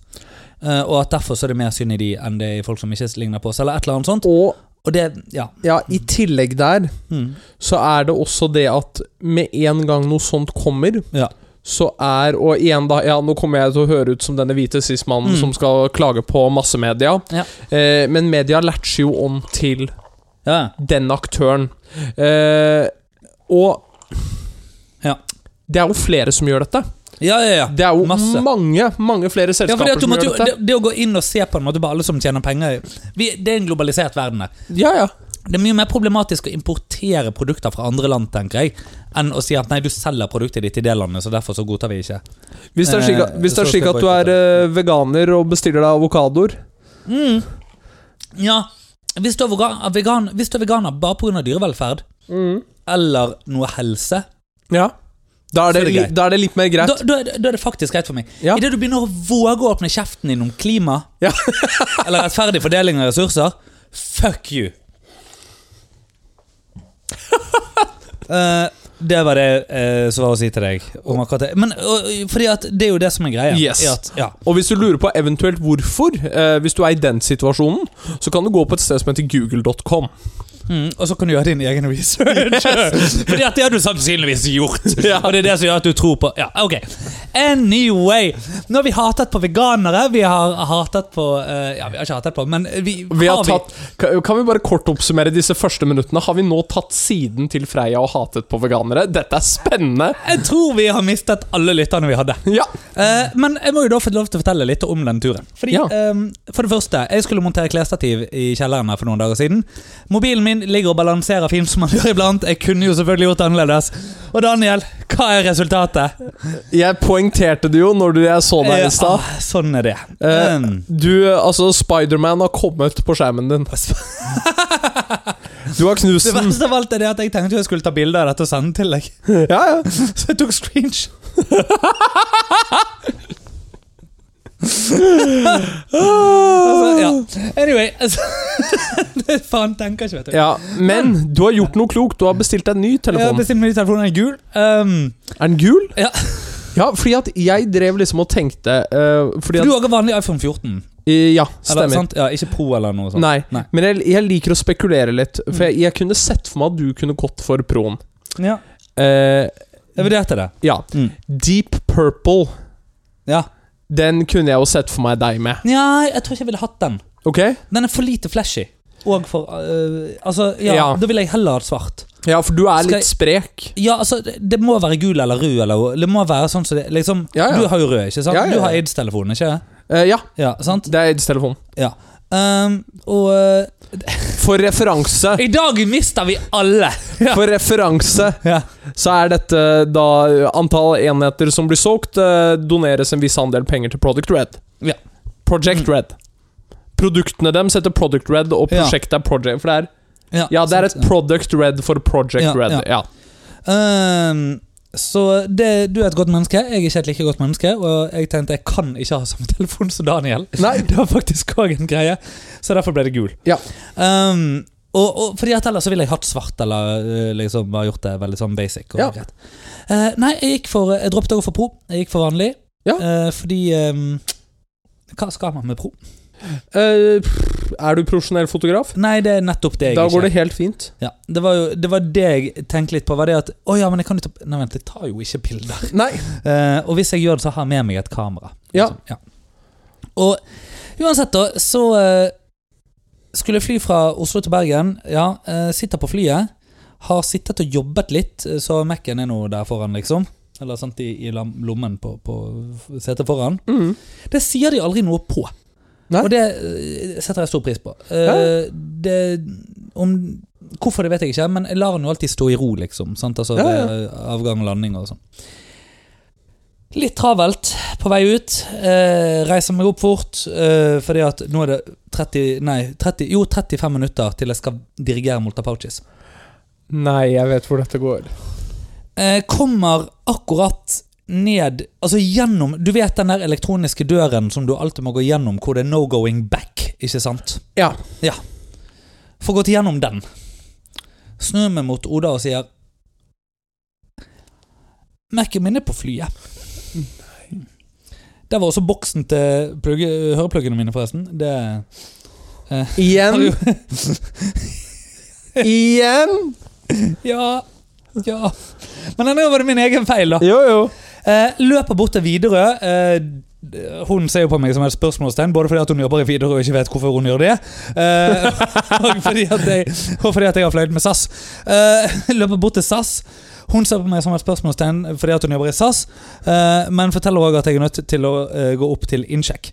Speaker 2: Eh, og at derfor så er det mer synd i de enn det er i folk som ikke ligner på oss, eller et eller annet sånt.
Speaker 1: Og
Speaker 2: Og det, ja.
Speaker 1: ja, i tillegg der
Speaker 2: Mm.
Speaker 1: så er det også det at med en gang noe sånt kommer,
Speaker 2: ja.
Speaker 1: så er Og igjen, da. Ja, nå kommer jeg til å høre ut som denne hvite cis-mannen
Speaker 2: Mm.
Speaker 1: som skal klage på massemedia,
Speaker 2: Ja.
Speaker 1: eh, men media latcher jo om til
Speaker 2: ja.
Speaker 1: den aktøren. Eh, og
Speaker 2: Ja.
Speaker 1: Det er jo flere som gjør dette.
Speaker 2: Ja, ja, ja.
Speaker 1: Det er jo
Speaker 2: Masse.
Speaker 1: mange mange flere
Speaker 2: Ja,
Speaker 1: selskaper
Speaker 2: fordi at du
Speaker 1: som
Speaker 2: måtte,
Speaker 1: gjør
Speaker 2: jo-
Speaker 1: dette.
Speaker 2: det, det å gå inn og se på en måte på alle som tjener penger vi, Det er en globalisert verden her.
Speaker 1: Ja, ja.
Speaker 2: Det er mye mer problematisk å importere produkter fra andre land, tenker jeg, enn å si at nei, du selger produktet ditt i det landet, så derfor så godtar vi ikke.
Speaker 1: Hvis det er slik, at-
Speaker 2: Eh,
Speaker 1: hvis det er
Speaker 2: så
Speaker 1: slik
Speaker 2: skal
Speaker 1: at du er eh, veganer og bestiller deg avokadoer
Speaker 2: Mm. Ja, hvis du er vegan- vegan, hvis du er veganer bare pga. dyrevelferd
Speaker 1: Mm.
Speaker 2: eller noe helse,
Speaker 1: Ja. Da er det,
Speaker 2: Så er det
Speaker 1: li-
Speaker 2: greit.
Speaker 1: da er det litt mer greit.
Speaker 2: da, da, er det- da er det faktisk greit for meg.
Speaker 1: Ja.
Speaker 2: Idet du begynner å våge å åpne kjeften din om klima
Speaker 1: Ja.
Speaker 2: eller rettferdig fordeling av ressurser, fuck you! Eh, det var det eh, som var å si til deg om akkurat det. Men eh, fordi at det er jo det som er greia.
Speaker 1: Yes.
Speaker 2: er At, ja.
Speaker 1: Og hvis du lurer på eventuelt hvorfor, eh, hvis du er i den situasjonen, så kan du gå på et sted som heter google.com.
Speaker 2: Mm, og så kan du gjøre din egen research. Fordi at det har du sannsynligvis gjort. Og det er det som gjør at du tror på Ja, ok. Anyway. Nå har vi hatet på veganere. Vi har hatet på eh, Ja, vi har ikke hatet på, men vi,
Speaker 1: Vi har tatt, kan kan vi bare kort oppsummere disse første minuttene? Har vi nå tatt siden til Freia og hatet på veganere? Dette er spennende!
Speaker 2: Jeg tror vi har mistet alle lytterne vi hadde.
Speaker 1: Ja.
Speaker 2: Eh, men jeg må jo da få lov til å fortelle litt om den turen. Fordi,
Speaker 1: Ja.
Speaker 2: ehm, for det første, jeg skulle montere klesstativ i kjelleren her for noen dager siden. Mobilen min ligger og balanserer fint som man gjør iblant. Jeg kunne jo selvfølgelig gjort det annerledes. Og Daniel, hva er resultatet?
Speaker 1: Jeg poengterte det jo når du- jeg så deg
Speaker 2: Eh,
Speaker 1: i stad.
Speaker 2: ah, sånn er det.
Speaker 1: Eh,
Speaker 2: Um,
Speaker 1: Du, altså, Spiderman har kommet på skjermen din. Du har knust
Speaker 2: det
Speaker 1: den.
Speaker 2: verste av alt er det at jeg tenkte jo jeg skulle ta bilde av dette og sende til deg.
Speaker 1: Ja, ja.
Speaker 2: Så jeg tok screenshot. altså, ja. Anyway altså, det Faen, tenker ikke, vet du.
Speaker 1: ja. Men du har gjort noe klokt. Du har bestilt deg en ny
Speaker 2: Jeg har
Speaker 1: telefon.
Speaker 2: bestilt meg ny telefon, den er gul. Um,
Speaker 1: Er den gul?
Speaker 2: Ja.
Speaker 1: Ja, fordi at jeg drev liksom og tenkte eh, Fordi
Speaker 2: du
Speaker 1: at
Speaker 2: har også vanlig iPhone 14.
Speaker 1: eh, Ja,
Speaker 2: Eller,
Speaker 1: stemmer.
Speaker 2: sant? Ja, ikke Pro eller noe sånt.
Speaker 1: Nei.
Speaker 2: Nei.
Speaker 1: Men jeg, jeg liker å spekulere litt. For jeg, jeg kunne sett for meg at du kunne gått for Proen.
Speaker 2: Ja,
Speaker 1: Eh,
Speaker 2: jeg vurderte det.
Speaker 1: ja.
Speaker 2: Mm.
Speaker 1: Deep Purple.
Speaker 2: Ja.
Speaker 1: Den kunne jeg jo sett for meg deg med.
Speaker 2: Nei, jeg tror ikke jeg ville hatt den.
Speaker 1: Ok?
Speaker 2: Den er for lite flashy. Og for øh, Altså, ja,
Speaker 1: Ja.
Speaker 2: da ville jeg heller hatt svart.
Speaker 1: Ja, for du er
Speaker 2: Skal jeg-
Speaker 1: litt sprek.
Speaker 2: Ja, altså, det det må være gul eller rød eller Det må være sånn som det liksom,
Speaker 1: Ja, ja.
Speaker 2: Du har jo rød, ikke sant?
Speaker 1: Ja, ja, ja.
Speaker 2: Du har aids-telefonen, ikke
Speaker 1: Eh, ja,
Speaker 2: Ja, sant?
Speaker 1: det er Aids-telefon.
Speaker 2: Ja. Ehm, og øh,
Speaker 1: For referanse
Speaker 2: I dag mister vi alle! Ja.
Speaker 1: For referanse
Speaker 2: Ja.
Speaker 1: så er dette da antall enheter som blir solgt, eh, doneres en viss andel penger til Product Red.
Speaker 2: Ja. Mm.
Speaker 1: Project Red. Produktene dem heter Product Red, og
Speaker 2: Ja. Sånn,
Speaker 1: prosjektet er Project For det er,
Speaker 2: Ja,
Speaker 1: ja, det er et
Speaker 2: sant,
Speaker 1: Product Red for Project
Speaker 2: Ja,
Speaker 1: Red.
Speaker 2: ja.
Speaker 1: Ja.
Speaker 2: ja. Ehm, så det, du er et godt menneske, jeg er ikke et like godt menneske. Og jeg tenkte jeg kan ikke ha samme telefon som Daniel.
Speaker 1: Nei.
Speaker 2: Det var faktisk òg en greie, så derfor ble det gul.
Speaker 1: Ja.
Speaker 2: Ehm, og, og fordi at ellers så ville jeg hatt svart, eller øh, liksom bare gjort det veldig sånn basic. Og
Speaker 1: Ja.
Speaker 2: greit. Eh, nei, jeg gikk for Jeg droppet å gå for pro. Jeg gikk for vanlig.
Speaker 1: Ja.
Speaker 2: Eh, fordi ehm, Hva skal man med pro?
Speaker 1: Eh, pff, er du profesjonell fotograf?
Speaker 2: Nei, det er nettopp det jeg
Speaker 1: Da
Speaker 2: ikke
Speaker 1: går det helt fint.
Speaker 2: ja, det, var jo, det var det jeg tenkte litt på. Var det at Å ja, men jeg kan jo ta Nei, vent, jeg tar jo ikke bilder.
Speaker 1: Nei.
Speaker 2: Eh, og hvis jeg gjør det, så har jeg med meg et kamera.
Speaker 1: Ja.
Speaker 2: Liksom, ja. Og uansett, da, så eh, skulle jeg fly fra Oslo til Bergen. Ja, eh, sitter på flyet. Har sittet og jobbet litt, eh, så Mac-en er nå der foran, liksom. Eller sant, i, i lam- lommen på, på setet foran.
Speaker 1: Mm.
Speaker 2: Det sier de aldri noe på.
Speaker 1: Nei.
Speaker 2: Og det eh, setter jeg stor pris på. Eh, det, om, hvorfor det vet jeg ikke, men jeg lar den jo alltid stå i ro, liksom. Sant? Altså,
Speaker 1: Ja, ja.
Speaker 2: ved, eh, Avgang og landing og sånn. Litt travelt på vei ut. Eh, reiser meg opp fort, eh, fordi at nå er det 30, nei, 30, jo, 35 minutter til jeg skal dirigere Molta Pouches.
Speaker 1: Nei, jeg vet hvor dette går.
Speaker 2: Eh, kommer akkurat ned Altså gjennom Du vet den der elektroniske døren som du alltid må gå gjennom, hvor det er no going back, ikke sant?
Speaker 1: Ja.
Speaker 2: Får gått gjennom den. Snur meg mot Oda og sier Mac-en min er på flyet. Der var også boksen til plugge, hørepluggene mine, forresten. Det
Speaker 1: Igjen. Igjen.
Speaker 2: Ja. Ja. Men nå var det min egen feil, da.
Speaker 1: Jo, jo.
Speaker 2: Eh, løper bort til Widerøe. Eh, d- hun ser jo på meg som et spørsmålstegn, både fordi at hun jobber i Widerøe og ikke vet hvorfor hun gjør det, eh, og, fordi at jeg, og fordi at jeg har fløyet med SAS. Eh, løper bort til SAS. Hun ser på meg som et spørsmålstegn fordi at hun jobber i SAS, eh, men forteller òg at jeg er nødt til å eh, gå opp til innsjekk.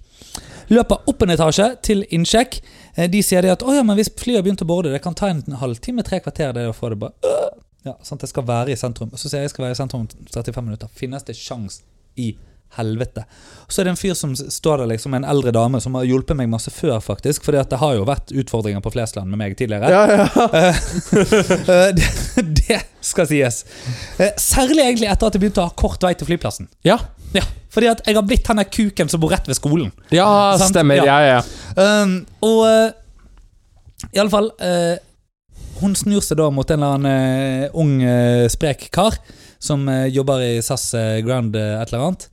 Speaker 2: Løper opp en etasje til innsjekk. Eh, de sier det at «Å ja, men hvis flyet har begynt å borde, det kan ta en halvtime, tre kvarter. det er å få det bare. «Øh!» Ja, sant, Jeg skal være i sentrum. Så sier jeg jeg skal være i sentrum om 35 minutter. Finnes det sjans i helvete. Så er det en fyr som s- står der, liksom, en eldre dame som har hjulpet meg masse før, faktisk. For det har jo vært utfordringer på Flesland med meg tidligere.
Speaker 1: Ja, ja.
Speaker 2: Eh, det, det skal sies. Eh, Særlig egentlig etter at jeg begynte å ha kort vei til flyplassen.
Speaker 1: ja.
Speaker 2: Ja, fordi at jeg har blitt denne kuken som bor rett ved skolen.
Speaker 1: ja
Speaker 2: Sant?
Speaker 1: stemmer.
Speaker 2: Ja.
Speaker 1: Ja, ja.
Speaker 2: Um, og uh, i alle fall eh, Hun snur seg da mot en eller annen eh, ung, eh, sprek kar som eh, jobber i SAS eh, Ground eh, et eller annet,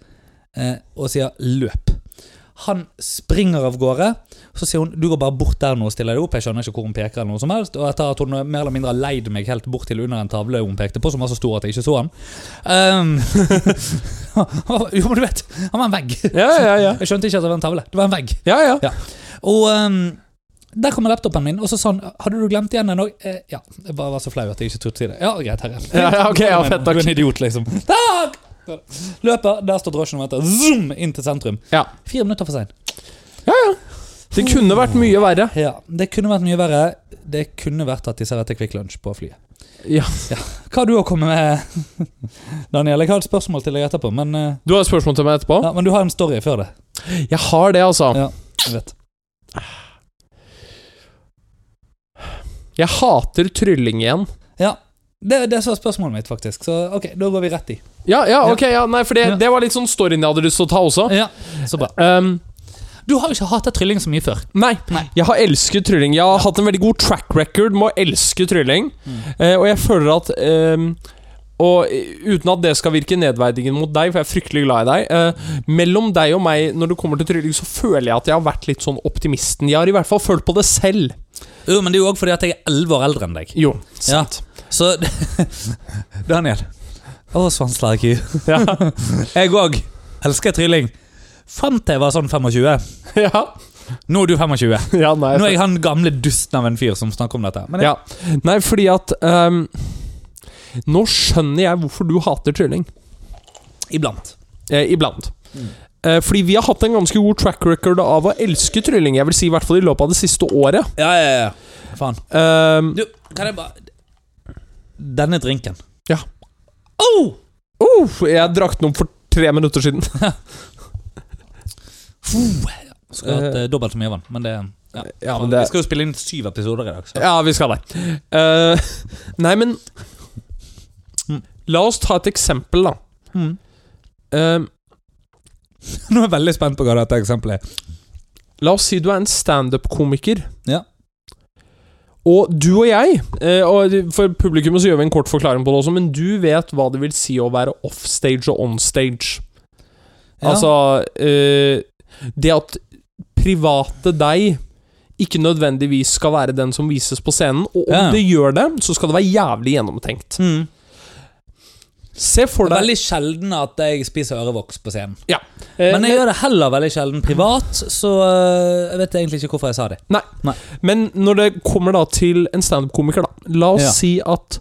Speaker 2: eh, og sier 'løp'. Han springer av gårde. Så sier hun 'du går bare bort der nå og stiller deg opp'. Jeg skjønner ikke hvor hun peker. eller noe som helst Og etter at hun mer eller mindre har leid meg helt bort til under en tavle hun pekte på, som var så stor at jeg ikke så han. Um, jo, men du vet, han var en vegg.
Speaker 1: Ja, ja, ja.
Speaker 2: Jeg skjønte ikke at det var en tavle. Det var en vegg.
Speaker 1: ja, ja.
Speaker 2: Og ehm, der kommer laptopen min, og så sa han Hadde du glemt igjen den òg? Eh, ja. Jeg bare var så flau at jeg ikke turte si det. Ja, greit, herre.
Speaker 1: Ja, ja, ok, ja, fett, takk.
Speaker 2: Du er en idiot, liksom. Takk! Løper, der står drosjen og venter. Zoom inn til sentrum.
Speaker 1: Ja.
Speaker 2: Fire minutter for sein.
Speaker 1: Det kunne vært mye verre.
Speaker 2: Ja, det kunne vært mye verre. Det kunne vært at de serverte Kvikk Lunsj på flyet.
Speaker 1: Ja.
Speaker 2: Hva har du å komme med, Daniel? Jeg har et spørsmål til deg etterpå, men, eh,
Speaker 1: Du har et spørsmål til meg etterpå?
Speaker 2: ja, men du har en story før det.
Speaker 1: Jeg har det, altså.
Speaker 2: Ja, jeg vet.
Speaker 1: Jeg hater trylling igjen.
Speaker 2: Det, det som var spørsmålet mitt, faktisk. Så ok, da går vi rett i.
Speaker 1: Ja, ja,
Speaker 2: Ja.
Speaker 1: ok, ja, nei, for
Speaker 2: Ja.
Speaker 1: det, det var litt sånn storyen jeg hadde lyst til å ta også.
Speaker 2: Ja, så bra.
Speaker 1: Um,
Speaker 2: Du har jo ikke hatet trylling så mye før.
Speaker 1: nei,
Speaker 2: Nei.
Speaker 1: jeg har elsket trylling. Jeg har hatt en veldig god track record med å elske trylling.
Speaker 2: Mm.
Speaker 1: Eh, og jeg føler at ehm, Og eh, uten at det skal virke nedverdigende mot deg, for jeg er fryktelig glad i deg eh, Mellom deg og meg når det kommer til trylling, så føler jeg at jeg har vært litt sånn optimisten. Jeg har i hvert fall følt på det selv.
Speaker 2: Jo, men det er jo òg fordi at jeg er elleve år eldre enn deg.
Speaker 1: Jo.
Speaker 2: Ja. Så Daniel. Å, svanslag.
Speaker 1: Ja.
Speaker 2: Jeg òg elsker trylling. Frem til jeg var sånn 25.
Speaker 1: ja.
Speaker 2: Nå er du 25.
Speaker 1: ja nei,
Speaker 2: Nå er jeg han gamle dusten av en fyr som snakker om dette. Men jeg,
Speaker 1: Ja. Nei, fordi at ehm, Nå skjønner jeg hvorfor du hater trylling.
Speaker 2: iblant.
Speaker 1: Eh, iblant.
Speaker 2: Mm.
Speaker 1: Eh, fordi vi har hatt en ganske god track record av å elske trylling. Jeg vil si i hvert fall i løpet av det siste året.
Speaker 2: Ja, ja, ja. Faen.
Speaker 1: Ehm,
Speaker 2: Du, kan jeg bare Denne drinken.
Speaker 1: Ja.
Speaker 2: Oh!
Speaker 1: oh, jeg drakk den opp for tre minutter siden.
Speaker 2: Skulle hatt eh, dobbelt så mye vann, men det ja.
Speaker 1: Ja, men det
Speaker 2: Vi skal jo spille inn syv episoder i dag. Så.
Speaker 1: Ja, vi skal det. Eh, nei, men
Speaker 2: Mm.
Speaker 1: La oss ta et eksempel, da.
Speaker 2: Mm.
Speaker 1: Ehm,
Speaker 2: Nå er jeg veldig spent på hva dette eksempelet er.
Speaker 1: La oss si du er en standup-komiker.
Speaker 2: Ja.
Speaker 1: Og du og jeg, eh, og for publikummet så gjør vi en kort forklaring på det også, men du vet hva det vil si å være offstage og onstage.
Speaker 2: Ja.
Speaker 1: Altså eh, Det at private deg ikke nødvendigvis skal være den som vises på scenen, og om
Speaker 2: Ja.
Speaker 1: det gjør det, så skal det være jævlig gjennomtenkt.
Speaker 2: Mm.
Speaker 1: Se for
Speaker 2: Det
Speaker 1: deg
Speaker 2: er veldig sjelden at jeg spiser ørevoks på scenen.
Speaker 1: ja. Eh,
Speaker 2: Men jeg gjør det heller veldig sjelden privat, så øh, jeg vet egentlig ikke hvorfor jeg sa det.
Speaker 1: Nei.
Speaker 2: Nei.
Speaker 1: Men når det kommer da til en standup-komiker, da La oss
Speaker 2: Ja.
Speaker 1: si at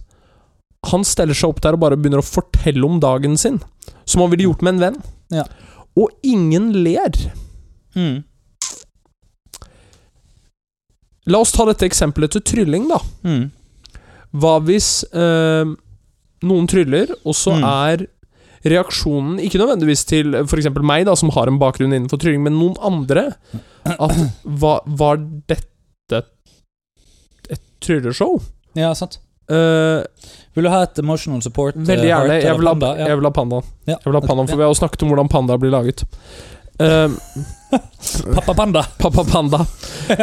Speaker 1: han steller seg opp der og bare begynner å fortelle om dagen sin, som han ville gjort med en venn,
Speaker 2: Ja.
Speaker 1: og ingen ler.
Speaker 2: Hmm.
Speaker 1: La oss ta dette eksempelet til trylling, da.
Speaker 2: Hmm.
Speaker 1: Hva hvis eh, noen tryller, og så
Speaker 2: Mm.
Speaker 1: er reaksjonen Ikke nødvendigvis til f.eks. meg, da, som har en bakgrunn innenfor trylling, men noen andre At hva, var dette et trylleshow?
Speaker 2: Ja, sant.
Speaker 1: Eh,
Speaker 2: Vil du ha et emotional support?
Speaker 1: Veldig
Speaker 2: øh, heart
Speaker 1: gjerne. Jeg
Speaker 2: eller
Speaker 1: vil ha,
Speaker 2: panda? Ja.
Speaker 1: jeg vil ha pandaen.
Speaker 2: Ja.
Speaker 1: Jeg vil ha pandaen, for vi har jo snakket om hvordan panda blir laget. Eh,
Speaker 2: Pappa Panda.
Speaker 1: Pappa Panda.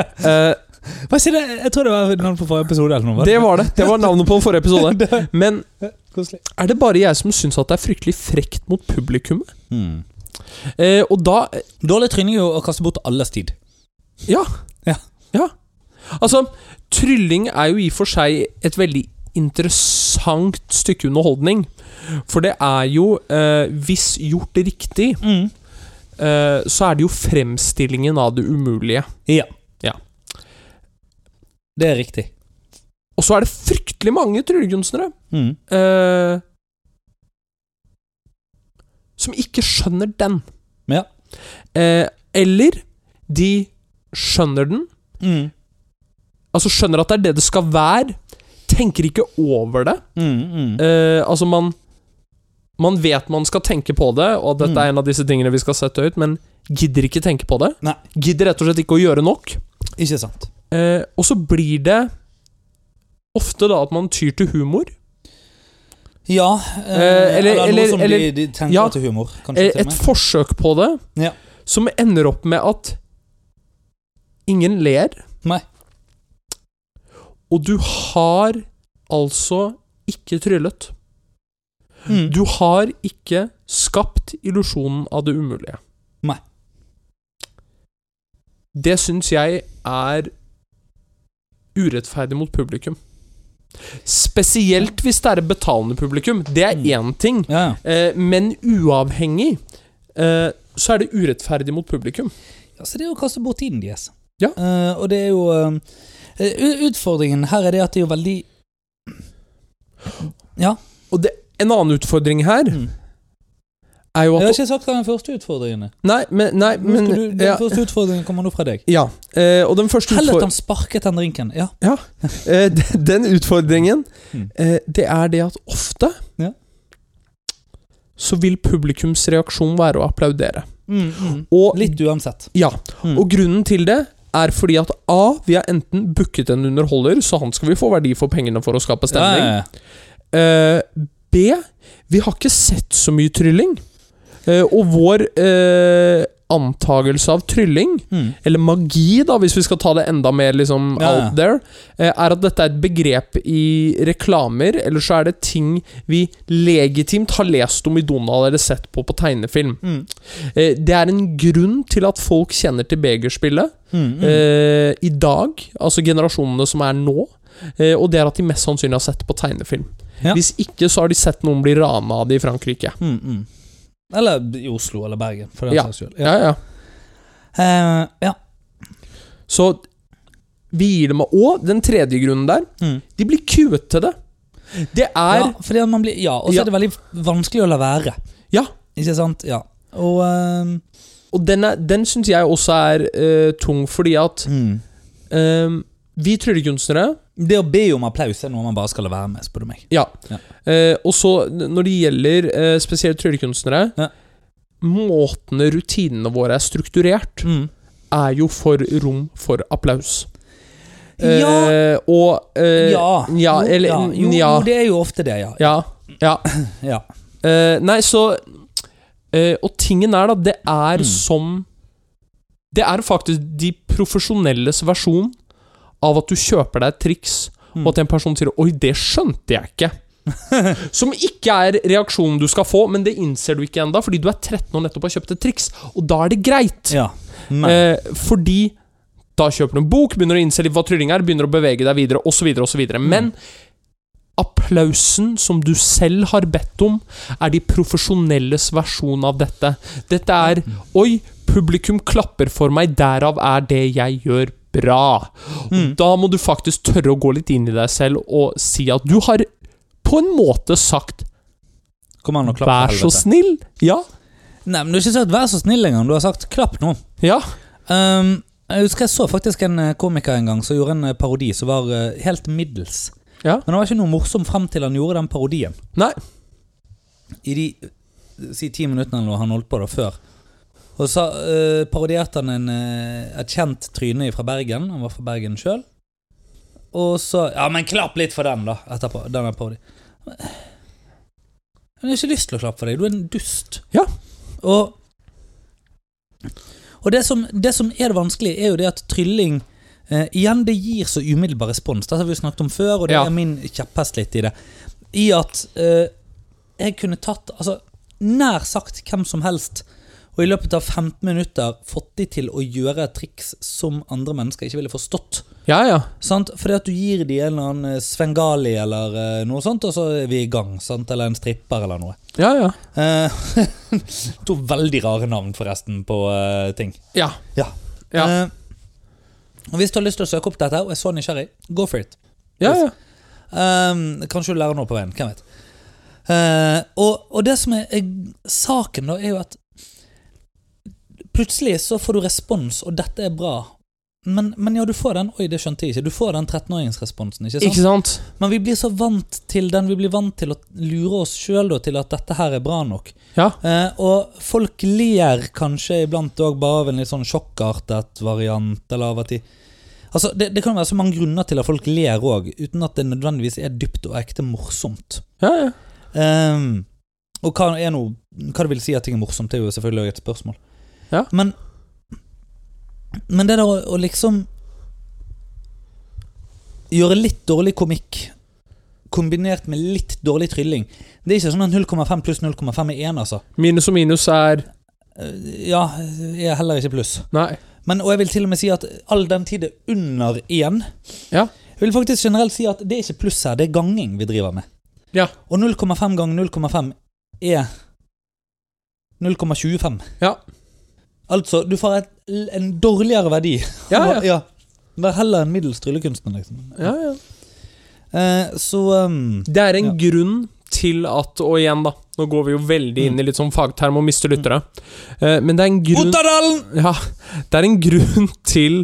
Speaker 1: Eh,
Speaker 2: Hva sier det? Jeg tror det var navnet på forrige episode. eller noe. var
Speaker 1: det var det. Det var navnet på forrige episode. Men
Speaker 2: Koselig.
Speaker 1: er det bare jeg som syns at det er fryktelig frekt mot publikum?
Speaker 2: Mm.
Speaker 1: Eh, og da
Speaker 2: Dårlig tryning er jo å kaste bort alles tid.
Speaker 1: Ja.
Speaker 2: Ja.
Speaker 1: Ja. Altså, trylling er jo i og for seg et veldig interessant stykke underholdning. For det er jo, eh, hvis gjort riktig,
Speaker 2: Hmm.
Speaker 1: eh, så er det jo fremstillingen av det umulige.
Speaker 2: Ja.
Speaker 1: Ja.
Speaker 2: Det er riktig.
Speaker 1: Og så er det fryktelig mange tryllekunstnere
Speaker 2: Mm.
Speaker 1: eh, som ikke skjønner den.
Speaker 2: Ja.
Speaker 1: Eh, eller de skjønner den,
Speaker 2: Hmm.
Speaker 1: altså skjønner at det er det det skal være, tenker ikke over det.
Speaker 2: Mm, mm.
Speaker 1: Eh, altså, man Man vet man skal tenke på det, og at dette er en av disse tingene vi skal sette høyt, men gidder ikke tenke på det.
Speaker 2: Nei.
Speaker 1: Gidder rett og slett ikke å gjøre nok.
Speaker 2: Ikke sant.
Speaker 1: Eh, og så blir det ofte da at man tyr til humor.
Speaker 2: Ja. Eh,
Speaker 1: Eh, eller-
Speaker 2: eller, noe
Speaker 1: eller-
Speaker 2: som
Speaker 1: eller-
Speaker 2: de, de tenker
Speaker 1: ja.
Speaker 2: til humor. Kanskje
Speaker 1: Eh,
Speaker 2: til og
Speaker 1: et
Speaker 2: med.
Speaker 1: forsøk på det
Speaker 2: Ja.
Speaker 1: som ender opp med at ingen ler.
Speaker 2: Nei.
Speaker 1: Og du har altså ikke tryllet.
Speaker 2: Mm.
Speaker 1: Du har ikke skapt illusjonen av det umulige.
Speaker 2: Nei.
Speaker 1: Det syns jeg er urettferdig mot publikum. Spesielt hvis det er et betalende publikum. Det er
Speaker 2: Mm.
Speaker 1: én ting.
Speaker 2: Ja, ja.
Speaker 1: Eh, men uavhengig eh, så er det urettferdig mot publikum.
Speaker 2: Ja, så Altså, det er jo å kaste bort tiden deres.
Speaker 1: Ja.
Speaker 2: Eh, og det er jo eh, u- Utfordringen her er det at det er jo veldig
Speaker 1: Og det, en annen utfordring her
Speaker 2: Mm.
Speaker 1: er jo
Speaker 2: Jeg har
Speaker 1: at
Speaker 2: ikke sagt hva den første utfordringen er.
Speaker 1: Nei, men, nei,
Speaker 2: Nå
Speaker 1: Eh, men
Speaker 2: skal du, den
Speaker 1: ja,
Speaker 2: første utfordringen kommer nå fra deg.
Speaker 1: ja. Eh, og den første
Speaker 2: Heller
Speaker 1: utfordringen
Speaker 2: at han sparket den drinken. Ja.
Speaker 1: Eh, de- den utfordringen,
Speaker 2: Mm.
Speaker 1: eh, det er det at ofte
Speaker 2: Ja.
Speaker 1: så vil publikums reaksjon være å applaudere.
Speaker 2: Mm, mm.
Speaker 1: Og,
Speaker 2: Litt uansett.
Speaker 1: ja,
Speaker 2: Mm.
Speaker 1: og grunnen til det er fordi at A, vi har enten booket en underholder, så han skal vi få verdi for pengene for å skape stemning.
Speaker 2: Ja, ja,
Speaker 1: Eh, B, vi har ikke sett så mye trylling. Eh, og vår eh, antagelse av trylling
Speaker 2: ja. Mm.
Speaker 1: eller magi, da, hvis vi skal ta det enda mer liksom,
Speaker 2: Ja, ja.
Speaker 1: out there, eh, er at dette er et begrep i reklamer, eller så er det ting vi legitimt har lest om i Donald eller sett på på tegnefilm.
Speaker 2: Mm.
Speaker 1: Eh, det er en grunn til at folk kjenner til Begerspillet
Speaker 2: Mm. Mm.
Speaker 1: eh, i dag, altså generasjonene som er nå, eh, og det er at de mest sannsynlig har sett på tegnefilm.
Speaker 2: Ja.
Speaker 1: Hvis ikke, så har de sett noen bli rana av det i Frankrike.
Speaker 2: Mm, mm. Eller i Oslo eller Bergen, for den
Speaker 1: Ja.
Speaker 2: saks skyld. Ja.
Speaker 1: Ja, ja.
Speaker 2: Eh, ja.
Speaker 1: Så vi gir dem Og den tredje grunnen der
Speaker 2: Mm.
Speaker 1: De blir kuet til det. Det er
Speaker 2: ja, fordi at man blir Ja, og så
Speaker 1: Ja.
Speaker 2: er det veldig vanskelig å la være.
Speaker 1: Ja.
Speaker 2: Ikke sant? Ja. Og eh,
Speaker 1: Og den, er- den syns jeg også er eh, tung, fordi at
Speaker 2: mm.
Speaker 1: eh, Vi tryllekunstnere
Speaker 2: Det å be om applaus er noe man bare skal la være med, spør du meg.
Speaker 1: Ja.
Speaker 2: Ja.
Speaker 1: Eh, og så n- når det gjelder eh, spesielt tryllekunstnere
Speaker 2: Ja.
Speaker 1: Måtene rutinene våre er strukturert, er jo for rom for applaus.
Speaker 2: Ja.
Speaker 1: Eh, og eh,
Speaker 2: ja.
Speaker 1: ja,
Speaker 2: Jo,
Speaker 1: eller,
Speaker 2: ja. Jo,
Speaker 1: ja.
Speaker 2: jo, det er jo ofte det, ja.
Speaker 1: Ja. ja.
Speaker 2: ja.
Speaker 1: Eh, nei, så eh, Og tingen er, da, det er
Speaker 2: Mm.
Speaker 1: som Det er faktisk de profesjonelles versjon av at du kjøper deg et triks,
Speaker 2: Mm.
Speaker 1: og at en person sier 'oi, det skjønte jeg ikke'. Som ikke er reaksjonen du skal få, men det innser du ikke enda fordi du er 13 og nettopp har kjøpt et triks. Og da er det greit.
Speaker 2: ja. Men
Speaker 1: Eh, fordi da kjøper du en bok, begynner å innse litt hva trylling er, begynner å bevege deg videre, osv., osv.
Speaker 2: Mm.
Speaker 1: Men applausen som du selv har bedt om, er de profesjonelles versjon av dette. Dette er
Speaker 2: Mm.
Speaker 1: Oi, publikum klapper for meg, derav er det jeg gjør, bra.
Speaker 2: Mm.
Speaker 1: Da må du faktisk tørre å gå litt inn i deg selv og si at du har på en måte sagt
Speaker 2: Kom an og klapp.
Speaker 1: Vær
Speaker 2: for
Speaker 1: så
Speaker 2: helvete.
Speaker 1: snill. Ja.
Speaker 2: Nei, men Du har ikke sagt 'vær så snill' engang. Du har sagt 'klapp nå'.
Speaker 1: Ja.
Speaker 2: Ehm, jeg husker jeg så faktisk en eh, komiker en gang som gjorde en eh, parodi som var eh, helt middels.
Speaker 1: Ja.
Speaker 2: Men det var ikke noe morsom frem til han gjorde den parodien.
Speaker 1: Nei.
Speaker 2: I de eh, si ti minuttene eller noe han holdt på da før. Og så eh, parodierte han en, eh, et kjent tryne fra Bergen. Han var fra Bergen sjøl. Og så Ja, men klapp litt for den, da! Etterpå. Den er parodi. Men jeg har ikke lyst til å klappe for deg. Du er en dust.
Speaker 1: Ja.
Speaker 2: Og, og det, som, det som er det vanskelige, er jo det at trylling eh, Igjen, det gir så umiddelbar respons. Dette har vi jo snakket om før, og det
Speaker 1: Ja.
Speaker 2: er min kjepphest litt i det. I at eh, jeg kunne tatt altså, nær sagt hvem som helst, og i løpet av 15 minutter fått de til å gjøre et triks som andre mennesker ikke ville forstått.
Speaker 1: Ja, ja.
Speaker 2: Sant? Fordi at du gir de en eller annen eh, svengali eller eh, noe sånt, og så er vi i gang. Sant? Eller en stripper eller noe.
Speaker 1: Ja, ja.
Speaker 2: Eh, to veldig rare navn, forresten, på eh, ting.
Speaker 1: Ja.
Speaker 2: Ja.
Speaker 1: Ja.
Speaker 2: Eh, og hvis du har lyst til å søke opp dette, og er så nysgjerrig, go for it.
Speaker 1: ja, ja.
Speaker 2: Ehm, kanskje du lærer noe på veien. Hvem vet. Eh, og, og det som er, er saken, da, er jo at plutselig så får du respons, og dette er bra. Men, men ja, du får den Oi, det skjønte jeg ikke. Du får den 13-åringsresponsen. ikke sant?
Speaker 1: Ikke sant?
Speaker 2: Men vi blir så vant til den. Vi blir vant til å lure oss sjøl til at dette her er bra nok.
Speaker 1: Ja.
Speaker 2: Eh, og folk ler kanskje iblant òg bare av en litt sånn sjokkartet variant, eller av at de Altså, det, det kan være så mange grunner til at folk ler òg, uten at det nødvendigvis er dypt og ekte morsomt.
Speaker 1: Ja, ja.
Speaker 2: Ehm, og hva, er noe, hva det vil si at ting er morsomt, det er jo selvfølgelig også et spørsmål.
Speaker 1: Ja.
Speaker 2: Men, men det der å, å liksom Gjøre litt dårlig komikk kombinert med litt dårlig trylling Det er ikke sånn at 0,5 pluss 0,5 er 1, altså.
Speaker 1: Minus og minus er
Speaker 2: Eh, Ja, er heller ikke pluss.
Speaker 1: Nei.
Speaker 2: Men, og jeg vil til og med si at all den tid det er under 1
Speaker 1: Ja.
Speaker 2: Jeg vil faktisk generelt si at det er ikke pluss her, det er ganging vi driver med.
Speaker 1: Ja.
Speaker 2: Og 0,5 ganger 0,5 er 0,25.
Speaker 1: Ja.
Speaker 2: Altså, du får et, en dårligere verdi.
Speaker 1: Ja, ja.
Speaker 2: Vær heller en middels tryllekunstner, liksom.
Speaker 1: ja, ja.
Speaker 2: Eh, så um,
Speaker 1: Det er en grunn til at Og igjen, da. Nå går vi jo veldig
Speaker 2: Mm.
Speaker 1: inn i litt sånn fagterm og mister lyttere. Eh, Men det er en grunn
Speaker 2: Otterdalen!
Speaker 1: Ja, det er en grunn til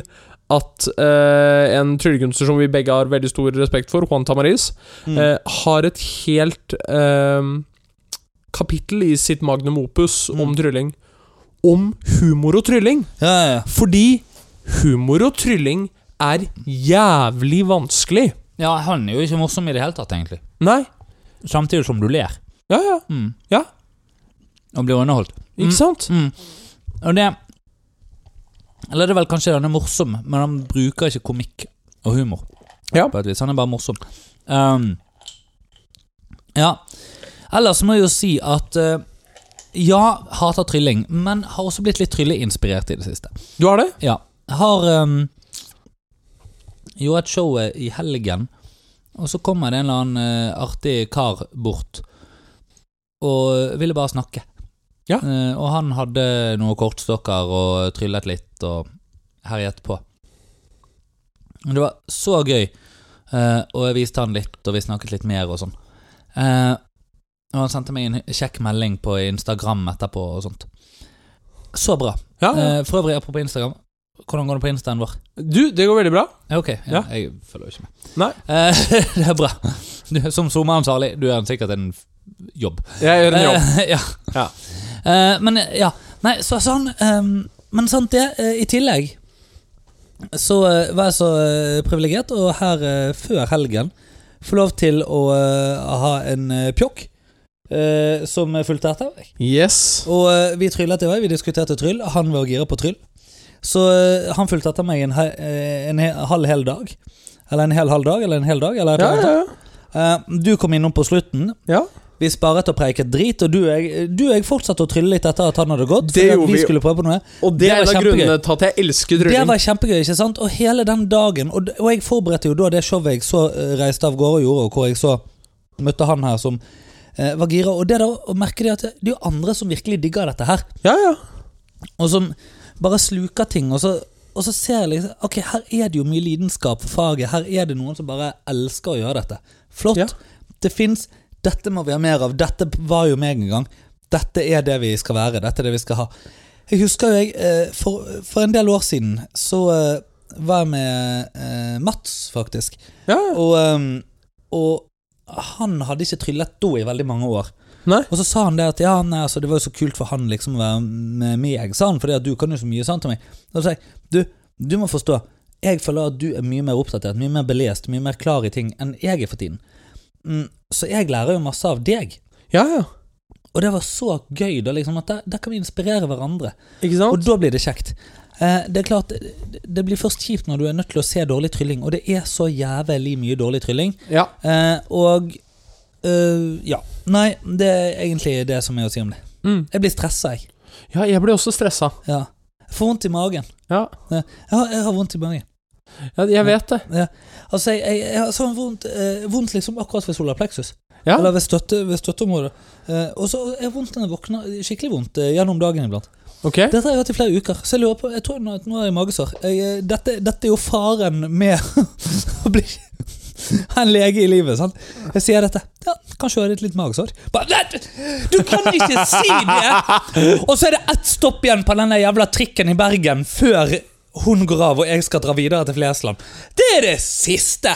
Speaker 1: at eh, en tryllekunstner som vi begge har veldig stor respekt for, Juan Tamariz,
Speaker 2: Mm.
Speaker 1: eh, har et helt eh, kapittel i sitt magnum opus om
Speaker 2: Mm.
Speaker 1: trylling. Om humor og trylling.
Speaker 2: Ja, ja, ja.
Speaker 1: Fordi humor og trylling er jævlig vanskelig.
Speaker 2: ja, han er jo ikke morsom i det hele tatt, egentlig.
Speaker 1: Nei.
Speaker 2: Samtidig som du ler.
Speaker 1: Ja, ja.
Speaker 2: Mm.
Speaker 1: Ja.
Speaker 2: Og blir underholdt.
Speaker 1: Ikke sant?
Speaker 2: Mm. Og det Eller det er vel kanskje han er morsom, men han bruker ikke komikk og humor.
Speaker 1: Ja.
Speaker 2: På et vis. Han er bare morsom. Ehm, ja. Ellers må jeg jo si at eh, ja, hater trylling, men har også blitt litt trylleinspirert i det siste.
Speaker 1: Du har det?
Speaker 2: Ja. Har ehm, jo et show eh, i helgen, og så kommer det en eller annen eh, artig kar bort og ville bare snakke.
Speaker 1: Ja.
Speaker 2: Eh, og han hadde noen kortstokker og tryllet litt og herjet på. Men det var så gøy, eh, og jeg viste han litt, og vi snakket litt mer og sånn. Eh, og han sendte meg en kjekk melding på Instagram etterpå og sånt. Så bra.
Speaker 1: Ah, Ja.
Speaker 2: Eh, for øvrig, apropos Instagram. Hvordan går det på Instaen vår?
Speaker 1: Du, det går veldig bra.
Speaker 2: Ja, Ok,
Speaker 1: Ja.
Speaker 2: ja, jeg følger jo ikke med.
Speaker 1: Nei.
Speaker 2: Eh, det er bra. Du, som sommerens Ali, du er sikkert en f- jobb.
Speaker 1: Jeg gjør en jobb.
Speaker 2: Eh, ja.
Speaker 1: Ja.
Speaker 2: Eh, men ja. Nei, så sånn ehm, Men sant det, eh, i tillegg så eh, var jeg så eh, privilegert, og her eh, før helgen få lov til å eh, ha en eh, pjokk eh, som fulgte etter meg.
Speaker 1: Yes.
Speaker 2: Og eh, vi tryllet i vei, vi diskuterte tryll. Han var gira på tryll. Så eh, han fulgte etter meg en, he eh, en he halv hel dag. Eller en hel halv dag, eller en hel dag. Eller et
Speaker 1: Ja,
Speaker 2: eller
Speaker 1: ja,
Speaker 2: annet.
Speaker 1: ja.
Speaker 2: Eh, du kom innom på slutten.
Speaker 1: ja.
Speaker 2: Vi sparet og preiket drit, og du og jeg, du og jeg fortsatte å trylle litt etter at han hadde gått.
Speaker 1: Det
Speaker 2: fordi at
Speaker 1: gjorde
Speaker 2: vi
Speaker 1: vi.
Speaker 2: skulle prøve på noe
Speaker 1: Og det,
Speaker 2: Det
Speaker 1: er en
Speaker 2: var
Speaker 1: av
Speaker 2: kjempegøy.
Speaker 1: grunnene til at jeg elsker
Speaker 2: Det
Speaker 1: trylling.
Speaker 2: var kjempegøy, ikke sant? Og hele den dagen Og, og jeg forberedte jo da det showet jeg så eh, reiste av gårde og gjorde, og hvor jeg så møtte han her som eh, var gira. Og det da, å merke det at det er jo andre som virkelig digger dette her.
Speaker 1: Ja, ja.
Speaker 2: og som bare sluker ting, og så, og så ser jeg liksom Ok, her er det jo mye lidenskap for faget. Her er det noen som bare elsker å gjøre dette. Flott.
Speaker 1: Ja.
Speaker 2: Det fins. Dette må vi ha mer av. Dette var jo meg en gang. Dette er det vi skal være. Dette er det vi skal ha. Jeg husker jo jeg, eh, for, for en del år siden så eh, var jeg med eh, Mats, faktisk.
Speaker 1: ja.
Speaker 2: Og, ehm, og han hadde ikke tryllet da i veldig mange år.
Speaker 1: Nei.
Speaker 2: Og så sa han det at ja, nei, altså, det var jo så kult for han liksom å være med meg, sa han, fordi at du kan jo så mye sant om meg. Og så sa jeg, du, du må forstå, jeg føler at du er mye mer oppdatert, mye mer belest, mye mer klar i ting enn jeg er for tiden. Mm, så jeg lærer jo masse av deg.
Speaker 1: Ja, ja.
Speaker 2: Og det var så gøy, da, liksom, at der, der kan vi inspirere hverandre.
Speaker 1: Ikke
Speaker 2: Og
Speaker 1: sant?
Speaker 2: da blir det kjekt. Eh, det er klart, det- det blir først kjipt når du er nødt til å se dårlig trylling, og det er så jævlig mye dårlig trylling.
Speaker 1: Ja.
Speaker 2: Eh, og eh, ja. Nei, det er egentlig det som er å si om det.
Speaker 1: Mm.
Speaker 2: Jeg blir stressa, jeg.
Speaker 1: ja, jeg blir også stressa.
Speaker 2: Ja. Jeg får vondt i magen.
Speaker 1: Ja.
Speaker 2: Jeg har, jeg har vondt i magen.
Speaker 1: ja, jeg vet det.
Speaker 2: Altså, jeg, jeg, jeg har sånn vondt, eh, vondt liksom akkurat ved solar plexus.
Speaker 1: Ja.
Speaker 2: Eller ved, støtte, ved støtteområdet. Eh, og så er jeg vondt når jeg våkner. Skikkelig vondt eh, gjennom dagen iblant.
Speaker 1: Ok.
Speaker 2: Dette har jeg hatt i flere uker, så jeg lurer på Jeg tror nå, nå har jeg magesår. Jeg, eh, dette, dette er jo faren med å bli en lege i livet. sant? Jeg sier dette. Ja, kanskje du har litt, litt magesår. Bare, «Nei, du kan ikke si det! Og så er det ett stopp igjen på den der jævla trikken i Bergen før Hun går av, og jeg skal dra videre til Flesland. Det er det siste!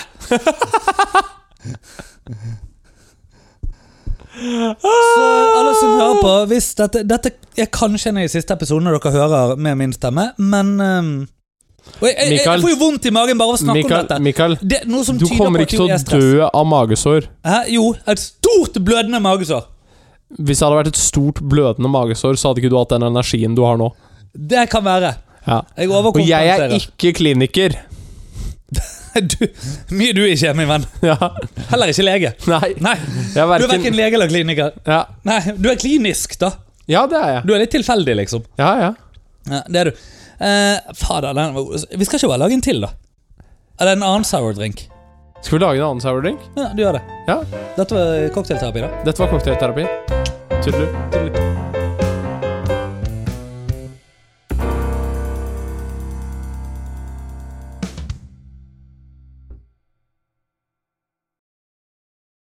Speaker 2: Så alle som hører på hvis dette, dette er kanskje en av de siste episodene dere hører med min stemme, men ehm, og jeg, jeg, jeg,
Speaker 1: Mikael.
Speaker 2: får jo vondt i magen bare av å snakke
Speaker 1: Mikael,
Speaker 2: om dette.
Speaker 1: Mikael,
Speaker 2: det, er noe som
Speaker 1: du
Speaker 2: tyder
Speaker 1: kommer
Speaker 2: på at
Speaker 1: ikke til
Speaker 2: du
Speaker 1: å
Speaker 2: er stress.
Speaker 1: dø av magesår.
Speaker 2: Hæ? Jo, et stort blødende magesår.
Speaker 1: Hvis det hadde vært et stort blødende magesår, så hadde ikke du hatt den energien du har nå.
Speaker 2: Det kan være.
Speaker 1: Ja.
Speaker 2: Jeg
Speaker 1: Og jeg er
Speaker 2: overkompenserer.
Speaker 1: ikke kliniker.
Speaker 2: Du, mye du ikke er, min venn.
Speaker 1: Ja.
Speaker 2: Heller ikke lege.
Speaker 1: Nei,
Speaker 2: Nei,
Speaker 1: jeg er
Speaker 2: Du er
Speaker 1: verken
Speaker 2: verken lege eller kliniker.
Speaker 1: ja.
Speaker 2: Nei, Du er klinisk, da.
Speaker 1: ja, det er jeg.
Speaker 2: Du er litt tilfeldig, liksom.
Speaker 1: Ja, ja.
Speaker 2: Ja, det er du. Eh, fader, den var god. Vi skal ikke bare lage en til, da? Eller en annen sour drink?
Speaker 1: Skal vi lage en annen sour drink?
Speaker 2: Ja, du gjør det.
Speaker 1: Ja.
Speaker 2: Dette var cocktailterapi, da.
Speaker 1: Dette var cocktailterapi. Tudelu.
Speaker 2: Tudelutt.